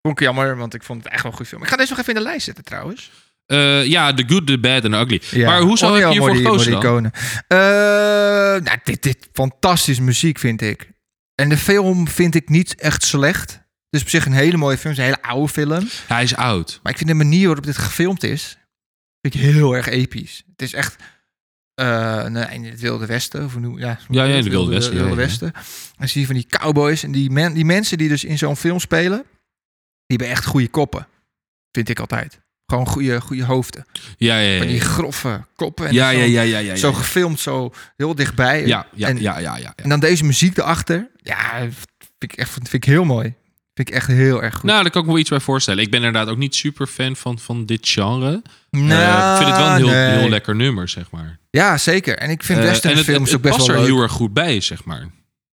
B: Vond ik jammer, want ik vond het echt wel een goed film. Ik ga deze nog even in de lijst zetten trouwens.
A: Eh, ja, The Good, The Bad and The Ugly. Maar hoezo
B: Oh,
A: heb
B: ja,
A: je hiervoor
B: mooi die-
A: gekozen
B: mooi die
A: dan?
B: iconen. Eh, nou, dit, dit fantastische muziek vind ik. En de film vind ik niet echt slecht. Het is op zich een hele mooie film. Het is een hele oude film.
A: Hij is oud.
B: Maar ik vind de manier waarop dit gefilmd is, vind ik heel erg episch. Het is echt eh nee, in het Wilde Westen. Of hoe noem, ja, hoe
A: Ja,
B: noem je
A: ja,
B: het?
A: in het Wilde Westen, ja,
B: Wilde
A: ja, ja.
B: Westen. Dan zie je van die cowboys en die, men, die mensen die dus in zo'n film spelen, die hebben echt goede koppen. Vind ik altijd. Gewoon goede, goede hoofden.
A: Ja, ja, ja.
B: Van die
A: Ja,
B: grove koppen. En
A: ja,
B: zo
A: ja, ja, ja, ja.
B: zo
A: ja.
B: gefilmd, zo heel dichtbij.
A: Ja, ja,
B: en,
A: ja, ja, ja.
B: en dan deze muziek erachter. Ja, vind ik, echt, vind ik heel mooi. Vind ik echt heel erg goed.
A: Nou, daar kan ik me wel iets bij voorstellen. Ik ben inderdaad ook niet super fan van, van dit genre. Eh,
B: Nou,
A: ik vind het wel een heel,
B: nee.
A: heel lekker nummer, zeg maar.
B: Ja, zeker. En ik vind
A: Eh, en het,
B: westernfilms
A: het-
B: ook best
A: het past
B: wel
A: er
B: leuk.
A: heel erg goed bij, zeg maar.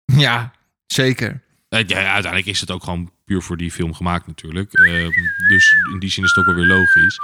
B: Ja, zeker.
A: Eh, ja, ja, uiteindelijk is het ook gewoon puur voor die film gemaakt natuurlijk. Eh, dus in die zin is het ook wel weer logisch.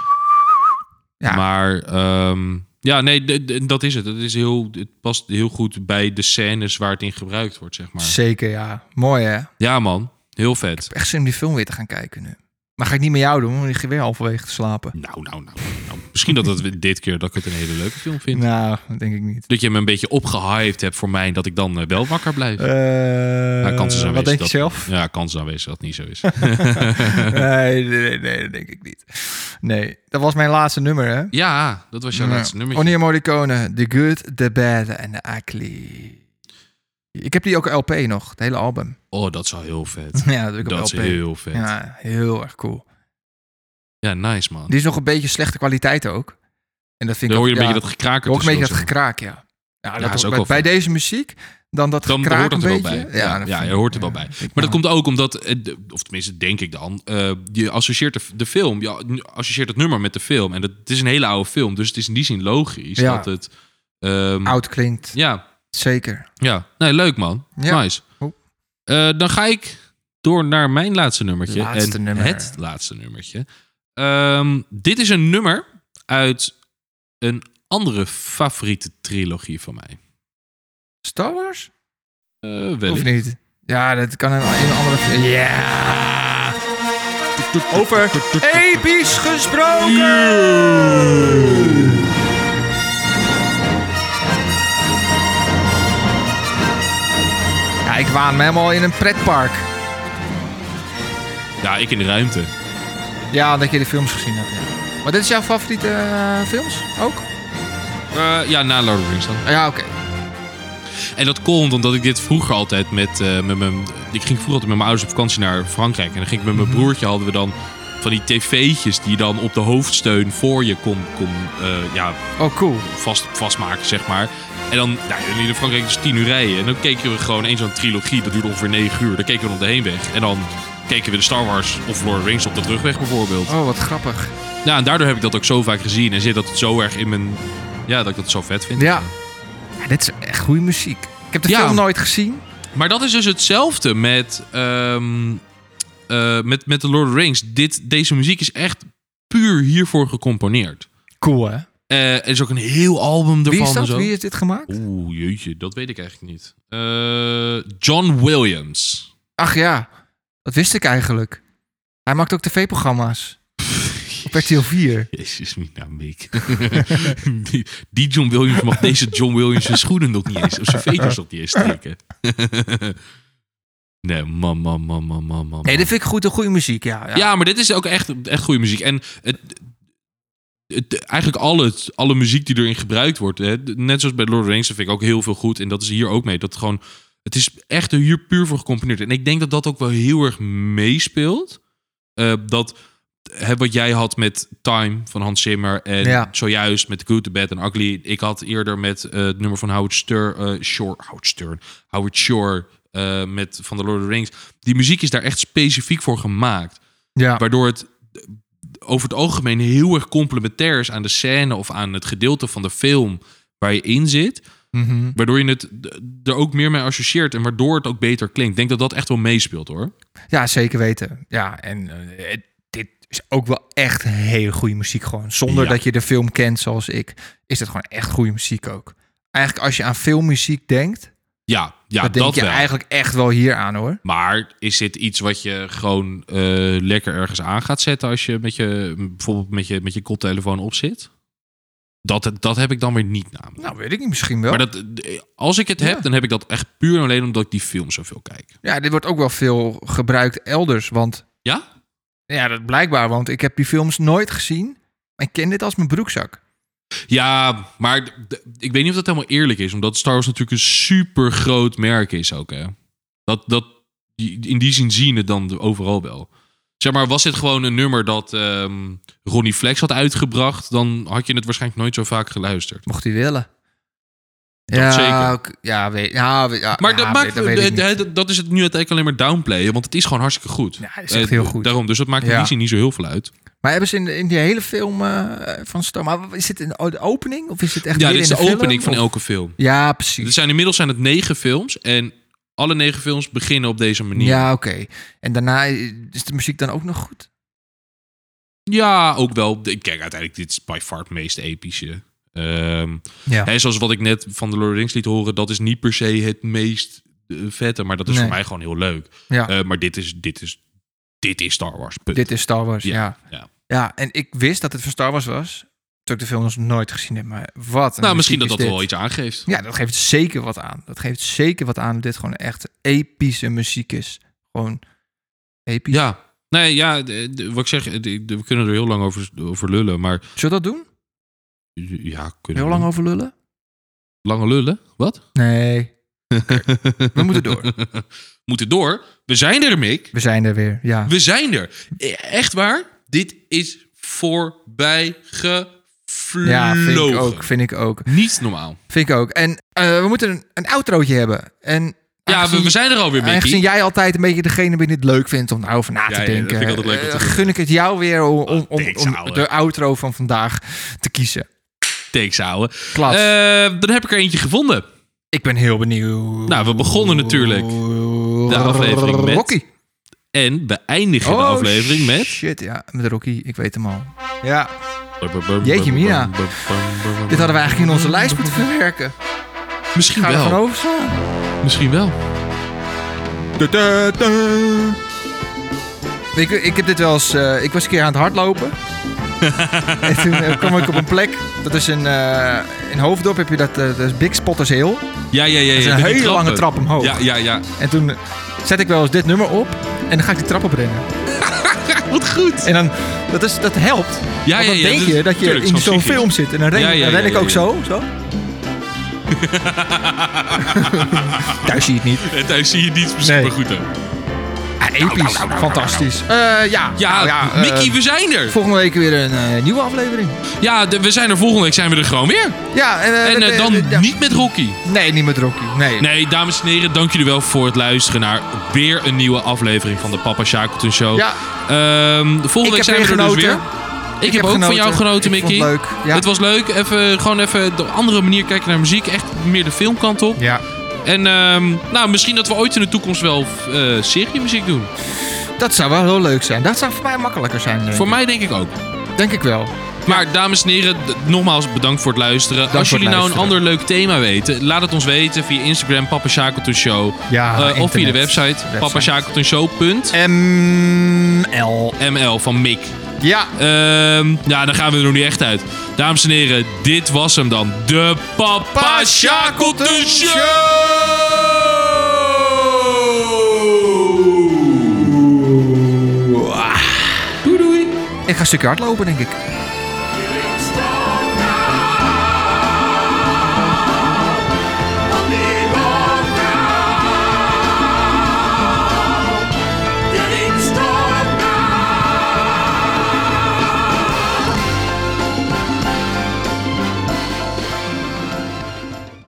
B: Ja.
A: Maar ehm, ja, nee, d- d- dat is het. Het, is heel, het past heel goed bij de scènes waar het in gebruikt wordt, zeg maar.
B: Zeker, ja. Mooi, hè?
A: Ja man, heel vet.
B: Echt zin om die film weer te gaan kijken nu. Maar ga ik niet met jou doen, want ik ga weer halverwege te slapen.
A: Nou, nou, nou. nou. Misschien dat het dit keer dat ik het een hele leuke film vind.
B: Nou, dat denk ik niet.
A: Dat je me een beetje opgehyped hebt voor mij en dat ik dan eh, wel wakker blijf. Ja, kans is aanwezig
B: Eh, wat denk je
A: dat-
B: zelf?
A: Ja, kans is aanwezig dat het niet zo is.
B: (laughs) nee, nee, nee, nee, dat denk ik niet. Nee, dat was mijn laatste nummer, hè?
A: ja, dat was jouw laatste nummer.
B: Onier Morricone, The Good, The Bad en The Ugly. Ik heb die ook LP nog, het hele
A: (laughs)
B: album.
A: Oh, dat is wel heel vet.
B: Ja, dat heb ik op
A: Dat is
B: LP.
A: heel vet. Ja,
B: Ja, heel erg cool.
A: nice man.
B: Die is nog een beetje slechte kwaliteit ook. En dat vind
A: Dan hoor
B: ik
A: je
B: ook-
A: een
B: ja,
A: beetje dat gekraken.
B: hoor ik een beetje dat
A: tussendoor,
B: gekraak, ja. Ja, dat
A: is
B: hoort
A: ook
B: bij,
A: wel
B: bij
A: fijn.
B: deze muziek, dan dat
A: Dan
B: gekraak
A: hoort dat
B: een
A: er wel
B: beetje.
A: bij. Ja,
B: dat
A: ja,
B: vind
A: je
B: ik-
A: hoort er wel
B: ja,
A: bij.
B: vind ik
A: Maar dat
B: wel.
A: komt ook omdat, eh, de- of tenminste denk ik dan, eh, je associeert de, de film, je nu associeert het nummer met de film. En dat, het is een hele oude film, dus het is in die zin logisch
B: Ja.
A: dat het... ehm,
B: Oud klinkt,
A: Ja,
B: zeker.
A: ja. Nee, leuk man.
B: Ja.
A: Nice.
B: Oh.
A: Eh, dan ga ik door naar mijn laatste nummertje.
B: Laatste
A: en
B: nummer.
A: Het laatste nummertje. Ehm, dit is een nummer uit een andere favoriete trilogie van mij.
B: Star Wars?
A: Eh
B: Of
A: wellicht.
B: niet? Ja, dat kan een, in een andere... Ja! Over episch gesproken! Ja, ik waan me helemaal in een pretpark.
A: Ja, ik in de ruimte.
B: Ja, dat je de films gezien hebt. Ja. Maar dit is jouw favoriete eh, films ook?
A: Eh, ja, na Lord of the Rings dan.
B: Ah, Ja, oké.
A: En dat komt omdat ik dit vroeger altijd met, eh, met mijn... Ik ging vroeger altijd met mijn ouders op vakantie naar Frankrijk. En dan ging ik met mijn
B: Mhm.
A: broertje, hadden we dan van die tv'tjes die je dan op de hoofdsteun voor je kon, kon eh, ja,
B: Oh, cool.
A: vast, vastmaken, zeg maar. En dan, nou, jullie in Frankrijk dus tien uur rijden. En dan keken we gewoon één zo'n trilogie, dat duurde ongeveer negen uur. Dan keken we op de heenweg. En dan keken we de Star Wars of Lord of the Rings op de terugweg bijvoorbeeld.
B: Oh, wat grappig.
A: Nou, en daardoor heb ik dat ook zo vaak gezien. En zit dat zo erg in mijn... Ja, dat ik dat zo vet vind.
B: Ja. ja dit is echt goede muziek. Ik heb de
A: Ja.
B: film nooit gezien.
A: Maar dat is dus hetzelfde met, ehm, eh, met, met de Lord of the Rings. Dit, deze muziek is echt puur hiervoor gecomponeerd.
B: Cool, hè? dus
A: Eh, er is ook een heel album ervan.
B: Wie is dat?
A: En zo.
B: Wie is dit gemaakt?
A: Oeh, jeetje, dat weet ik eigenlijk niet. Eh, John Williams.
B: Ach ja, dat wist ik eigenlijk. Hij maakt ook tv-programma's.
A: (laughs)
B: Op RTL 4.
A: Jezus, Mina Mick. (laughs) die, die John Williams mag deze John Williams zijn schoenen nog niet eens, of zijn veters nog niet eens strikken. (laughs) nee, man, man, man, man, man, man.
B: Nee, dat vind ik goed. Een goede muziek, ja. Ja,
A: Ja, maar dit is ook echt, echt goede muziek. En het, het- eigenlijk al het, alle muziek die erin gebruikt wordt. Hè, net zoals bij Lord of the Rings, dat vind ik ook heel veel goed. En dat is hier ook mee. Dat gewoon, het is echt hier puur voor gecomponeerd. En ik denk dat dat ook wel heel erg meespeelt. Eh, dat hè, wat jij had met Time van Hans Zimmer. En
B: Ja.
A: zojuist met Good, The Bad en Ugly. Ik had eerder met eh, het nummer van Howard Stern, eh, Shore. Howard Stern. Howard Shore. eh, met van de Lord of the Rings. Die muziek is daar echt specifiek voor gemaakt.
B: ja.
A: Waardoor het over het algemeen heel erg complementair is aan de scène of aan het gedeelte van de film waar je in zit.
B: Mhm.
A: Waardoor je het d- er ook meer mee associeert en waardoor het ook beter klinkt. Ik denk dat dat echt wel meespeelt hoor.
B: Ja, zeker weten. Ja, en eh, het- dit is ook wel echt een hele goede muziek gewoon. Zonder
A: Ja.
B: dat je de film kent zoals ik, is het gewoon echt goede muziek ook. Eigenlijk als je aan filmmuziek denkt,
A: Ja, ja
B: dan
A: Ah, dat,
B: denk je
A: wel.
B: eigenlijk echt wel hier aan hoor.
A: Maar is dit iets wat je gewoon eh, lekker ergens aan gaat zetten als je met je bijvoorbeeld met je, met je koptelefoon op zit? Dat, dat heb ik dan weer niet namelijk.
B: Nou, weet ik niet, misschien wel.
A: Maar dat, als ik het heb,
B: Ja.
A: dan heb ik dat echt puur en alleen omdat ik die film zoveel kijk.
B: Ja, dit wordt ook wel veel gebruikt elders, want
A: Ja?
B: ja, dat blijkbaar, want ik heb die films nooit gezien. Maar ik ken dit als mijn broekzak.
A: Ja, maar d- d- ik weet niet of dat helemaal eerlijk is. Omdat Star Wars natuurlijk een super groot merk is ook. Hè? Dat, dat, die- in die zin zien het dan overal wel. Zeg maar, was dit gewoon een nummer dat ehm, Ronnie Flex had uitgebracht... dan had je het waarschijnlijk nooit zo vaak geluisterd.
B: Mocht hij willen. ja,
A: zeker.
B: ook- Ja, weet, ja, weet- ja,
A: Maar
B: ja,
A: dat,
B: weet-
A: maakt,
B: dat weet ik niet.
A: eh, dat is het nu uiteindelijk alleen maar downplayen. Want het is gewoon hartstikke goed.
B: Ja, het is echt
A: Eh,
B: heel goed.
A: Daarom, dus dat maakt in
B: Ja.
A: die zin niet zo heel veel uit.
B: Maar hebben ze in, in die hele film eh, van Star... Maar is dit in de opening? Of is het echt
A: ja, dit
B: midden
A: is de,
B: in film?
A: opening van
B: Of-
A: elke film.
B: Ja,
A: Er
B: precies.
A: zijn, inmiddels zijn het negen films. En alle negen films beginnen op deze manier. Ja,
B: Ja, oké. En daarna eh, is de muziek dan ook nog goed?
A: ook wel. Ik Kijk, uiteindelijk, dit is by far het meest epische. Ehm
B: Ja.
A: hè, zoals wat ik net van de Lord of the Rings liet horen. Dat is niet per se het meest eh, vette. Maar dat is
B: Nee.
A: voor mij gewoon heel leuk.
B: ja.
A: Eh, maar dit is, dit, is, dit is Star Wars. Punt.
B: Dit is Star Wars,
A: Ja,
B: ja.
A: ja.
B: Ja. en ik wist dat het van Star Wars was. Toen ik de film nog nooit gezien heb. Maar wat een
A: nou, misschien dat
B: muziek
A: dat
B: is
A: wel
B: dit.
A: iets aangeeft.
B: Ja, dat geeft zeker wat aan. Dat geeft zeker wat aan dat dit gewoon echt epische muziek is. Gewoon episch.
A: Ja. Nee, ja, de- de- wat ik zeg, de- de- we kunnen er heel lang over, over lullen, maar
B: Zullen we dat doen?
A: ja, kunnen
B: Heel
A: we
B: lang
A: doen.
B: over lullen?
A: lange lullen? Wat?
B: Nee. (laughs) We moeten door.
A: (laughs) moeten door. We zijn er, Mick.
B: We zijn er weer, ja.
A: We zijn er. E- Echt waar? Dit is voorbij gevlogen.
B: Ja, vind ik ook. Vind ik ook.
A: Niet normaal.
B: Vind ik ook. En eh, we moeten een, een outrootje hebben. En
A: Ja, we,
B: aangezien-
A: we zijn er alweer, Mickey.
B: Aangezien jij altijd een beetje degene bent die het leuk vindt om daarover na te
A: Ja, ja, dat
B: denken,
A: vind ik altijd leuk om te
B: eh,
A: doen.
B: gun ik het jou weer om, om, om,
A: thanks,
B: om
A: ouwe.
B: de outro van vandaag te kiezen.
A: Thanks, ouwe.
B: Klats.
A: Eh, dan heb ik er eentje gevonden.
B: ik ben heel benieuwd.
A: Nou, we begonnen natuurlijk de aflevering met-
B: Rocky.
A: En we eindigen
B: Oh,
A: de aflevering met...
B: Shit, ja, met Rocky. Ik weet hem al. Ja.
A: Jeetje
B: Jeetje,
A: Mina.
B: Mina. Dit hadden we eigenlijk in onze lijst moeten verwerken.
A: Misschien
B: Gaan we
A: wel.
B: gewoon overslaan.
A: Misschien wel.
B: Ik, ik heb dit wel eens... eh, ik was een keer aan het
A: (laughs)
B: hardlopen. en toen eh, kwam ik op een plek. Dat is in, eh in Hoofddorp heb je dat, eh, dat is Big Spotters Hill.
A: Ja, ja, ja. ja.
B: is een
A: met die
B: hele
A: trappen.
B: lange trap omhoog.
A: Ja, ja, ja.
B: En toen zet ik wel eens dit nummer op en dan ga ik die trap oprennen.
A: (laughs) Wat goed.
B: En dan, dat, is, dat helpt. Ja,
A: Ja,
B: want
A: ja,
B: dan
A: ja.
B: denk
A: dus-
B: je dat je
A: tuurlijk,
B: in
A: zo'n
B: zo'n
A: psychisch.
B: film zit. En dan ren,
A: Ja, ja,
B: dan ren
A: ja,
B: ik
A: ja,
B: ook
A: ja.
B: zo.
A: (laughs)
B: zo. Thuis zie je het niet.
A: En thuis zie je niets misschien
B: Nee.
A: maar goed ook.
B: Ja,
A: Nou,
B: episch. Fantastisch. Eh, ja,
A: Ja,
B: Nou eh,
A: Mickey, we zijn er.
B: Volgende week weer een eh, nieuwe aflevering.
A: Ja, de- we zijn er volgende week zijn we er gewoon weer.
B: Ja, eh,
A: En eh,
B: eh,
A: dan
B: eh, ja.
A: niet met Rocky.
B: Nee, niet met Rocky. Nee.
A: Nee, dames en heren, dank jullie wel voor het luisteren naar weer een nieuwe aflevering van de Papa Shackleton Show.
B: Ja.
A: Ehm, de volgende
B: Ik
A: week
B: heb
A: zijn we
B: weer
A: er dus weer.
B: genoten.
A: Ik, heb,
B: heb
A: ook van
B: genoten.
A: jou genoten,
B: Ik vond
A: Mickey.
B: het leuk, ja.
A: Het was leuk. Even, gewoon even op een andere manier kijken naar muziek. Echt meer de filmkant op.
B: Ja,
A: En ehm, nou, misschien dat we ooit in de toekomst wel eh seriemuziek doen.
B: dat zou wel heel leuk zijn. Dat zou voor mij makkelijker zijn. denk
A: Voor
B: ik.
A: mij denk ik ook.
B: Denk ik wel.
A: Maar dames en heren, d- nogmaals bedankt voor het luisteren.
B: Dank
A: Als
B: voor het
A: jullie nou een
B: luisteren.
A: ander leuk thema weten, laat het ons weten via Instagram Papa Shackleton Show.
B: Ja,
A: Eh, of via de
B: internet.
A: website,
B: Website.
A: papashackletonshow.ml
B: ML.
A: van Mick.
B: Ja.
A: Ehm, ja, dan gaan we er nu echt uit. Dames en heren, dit was hem dan. De Papa Shackleton Show! Doei doei!
B: Ah. Ik ga een stukje hardlopen, denk ik.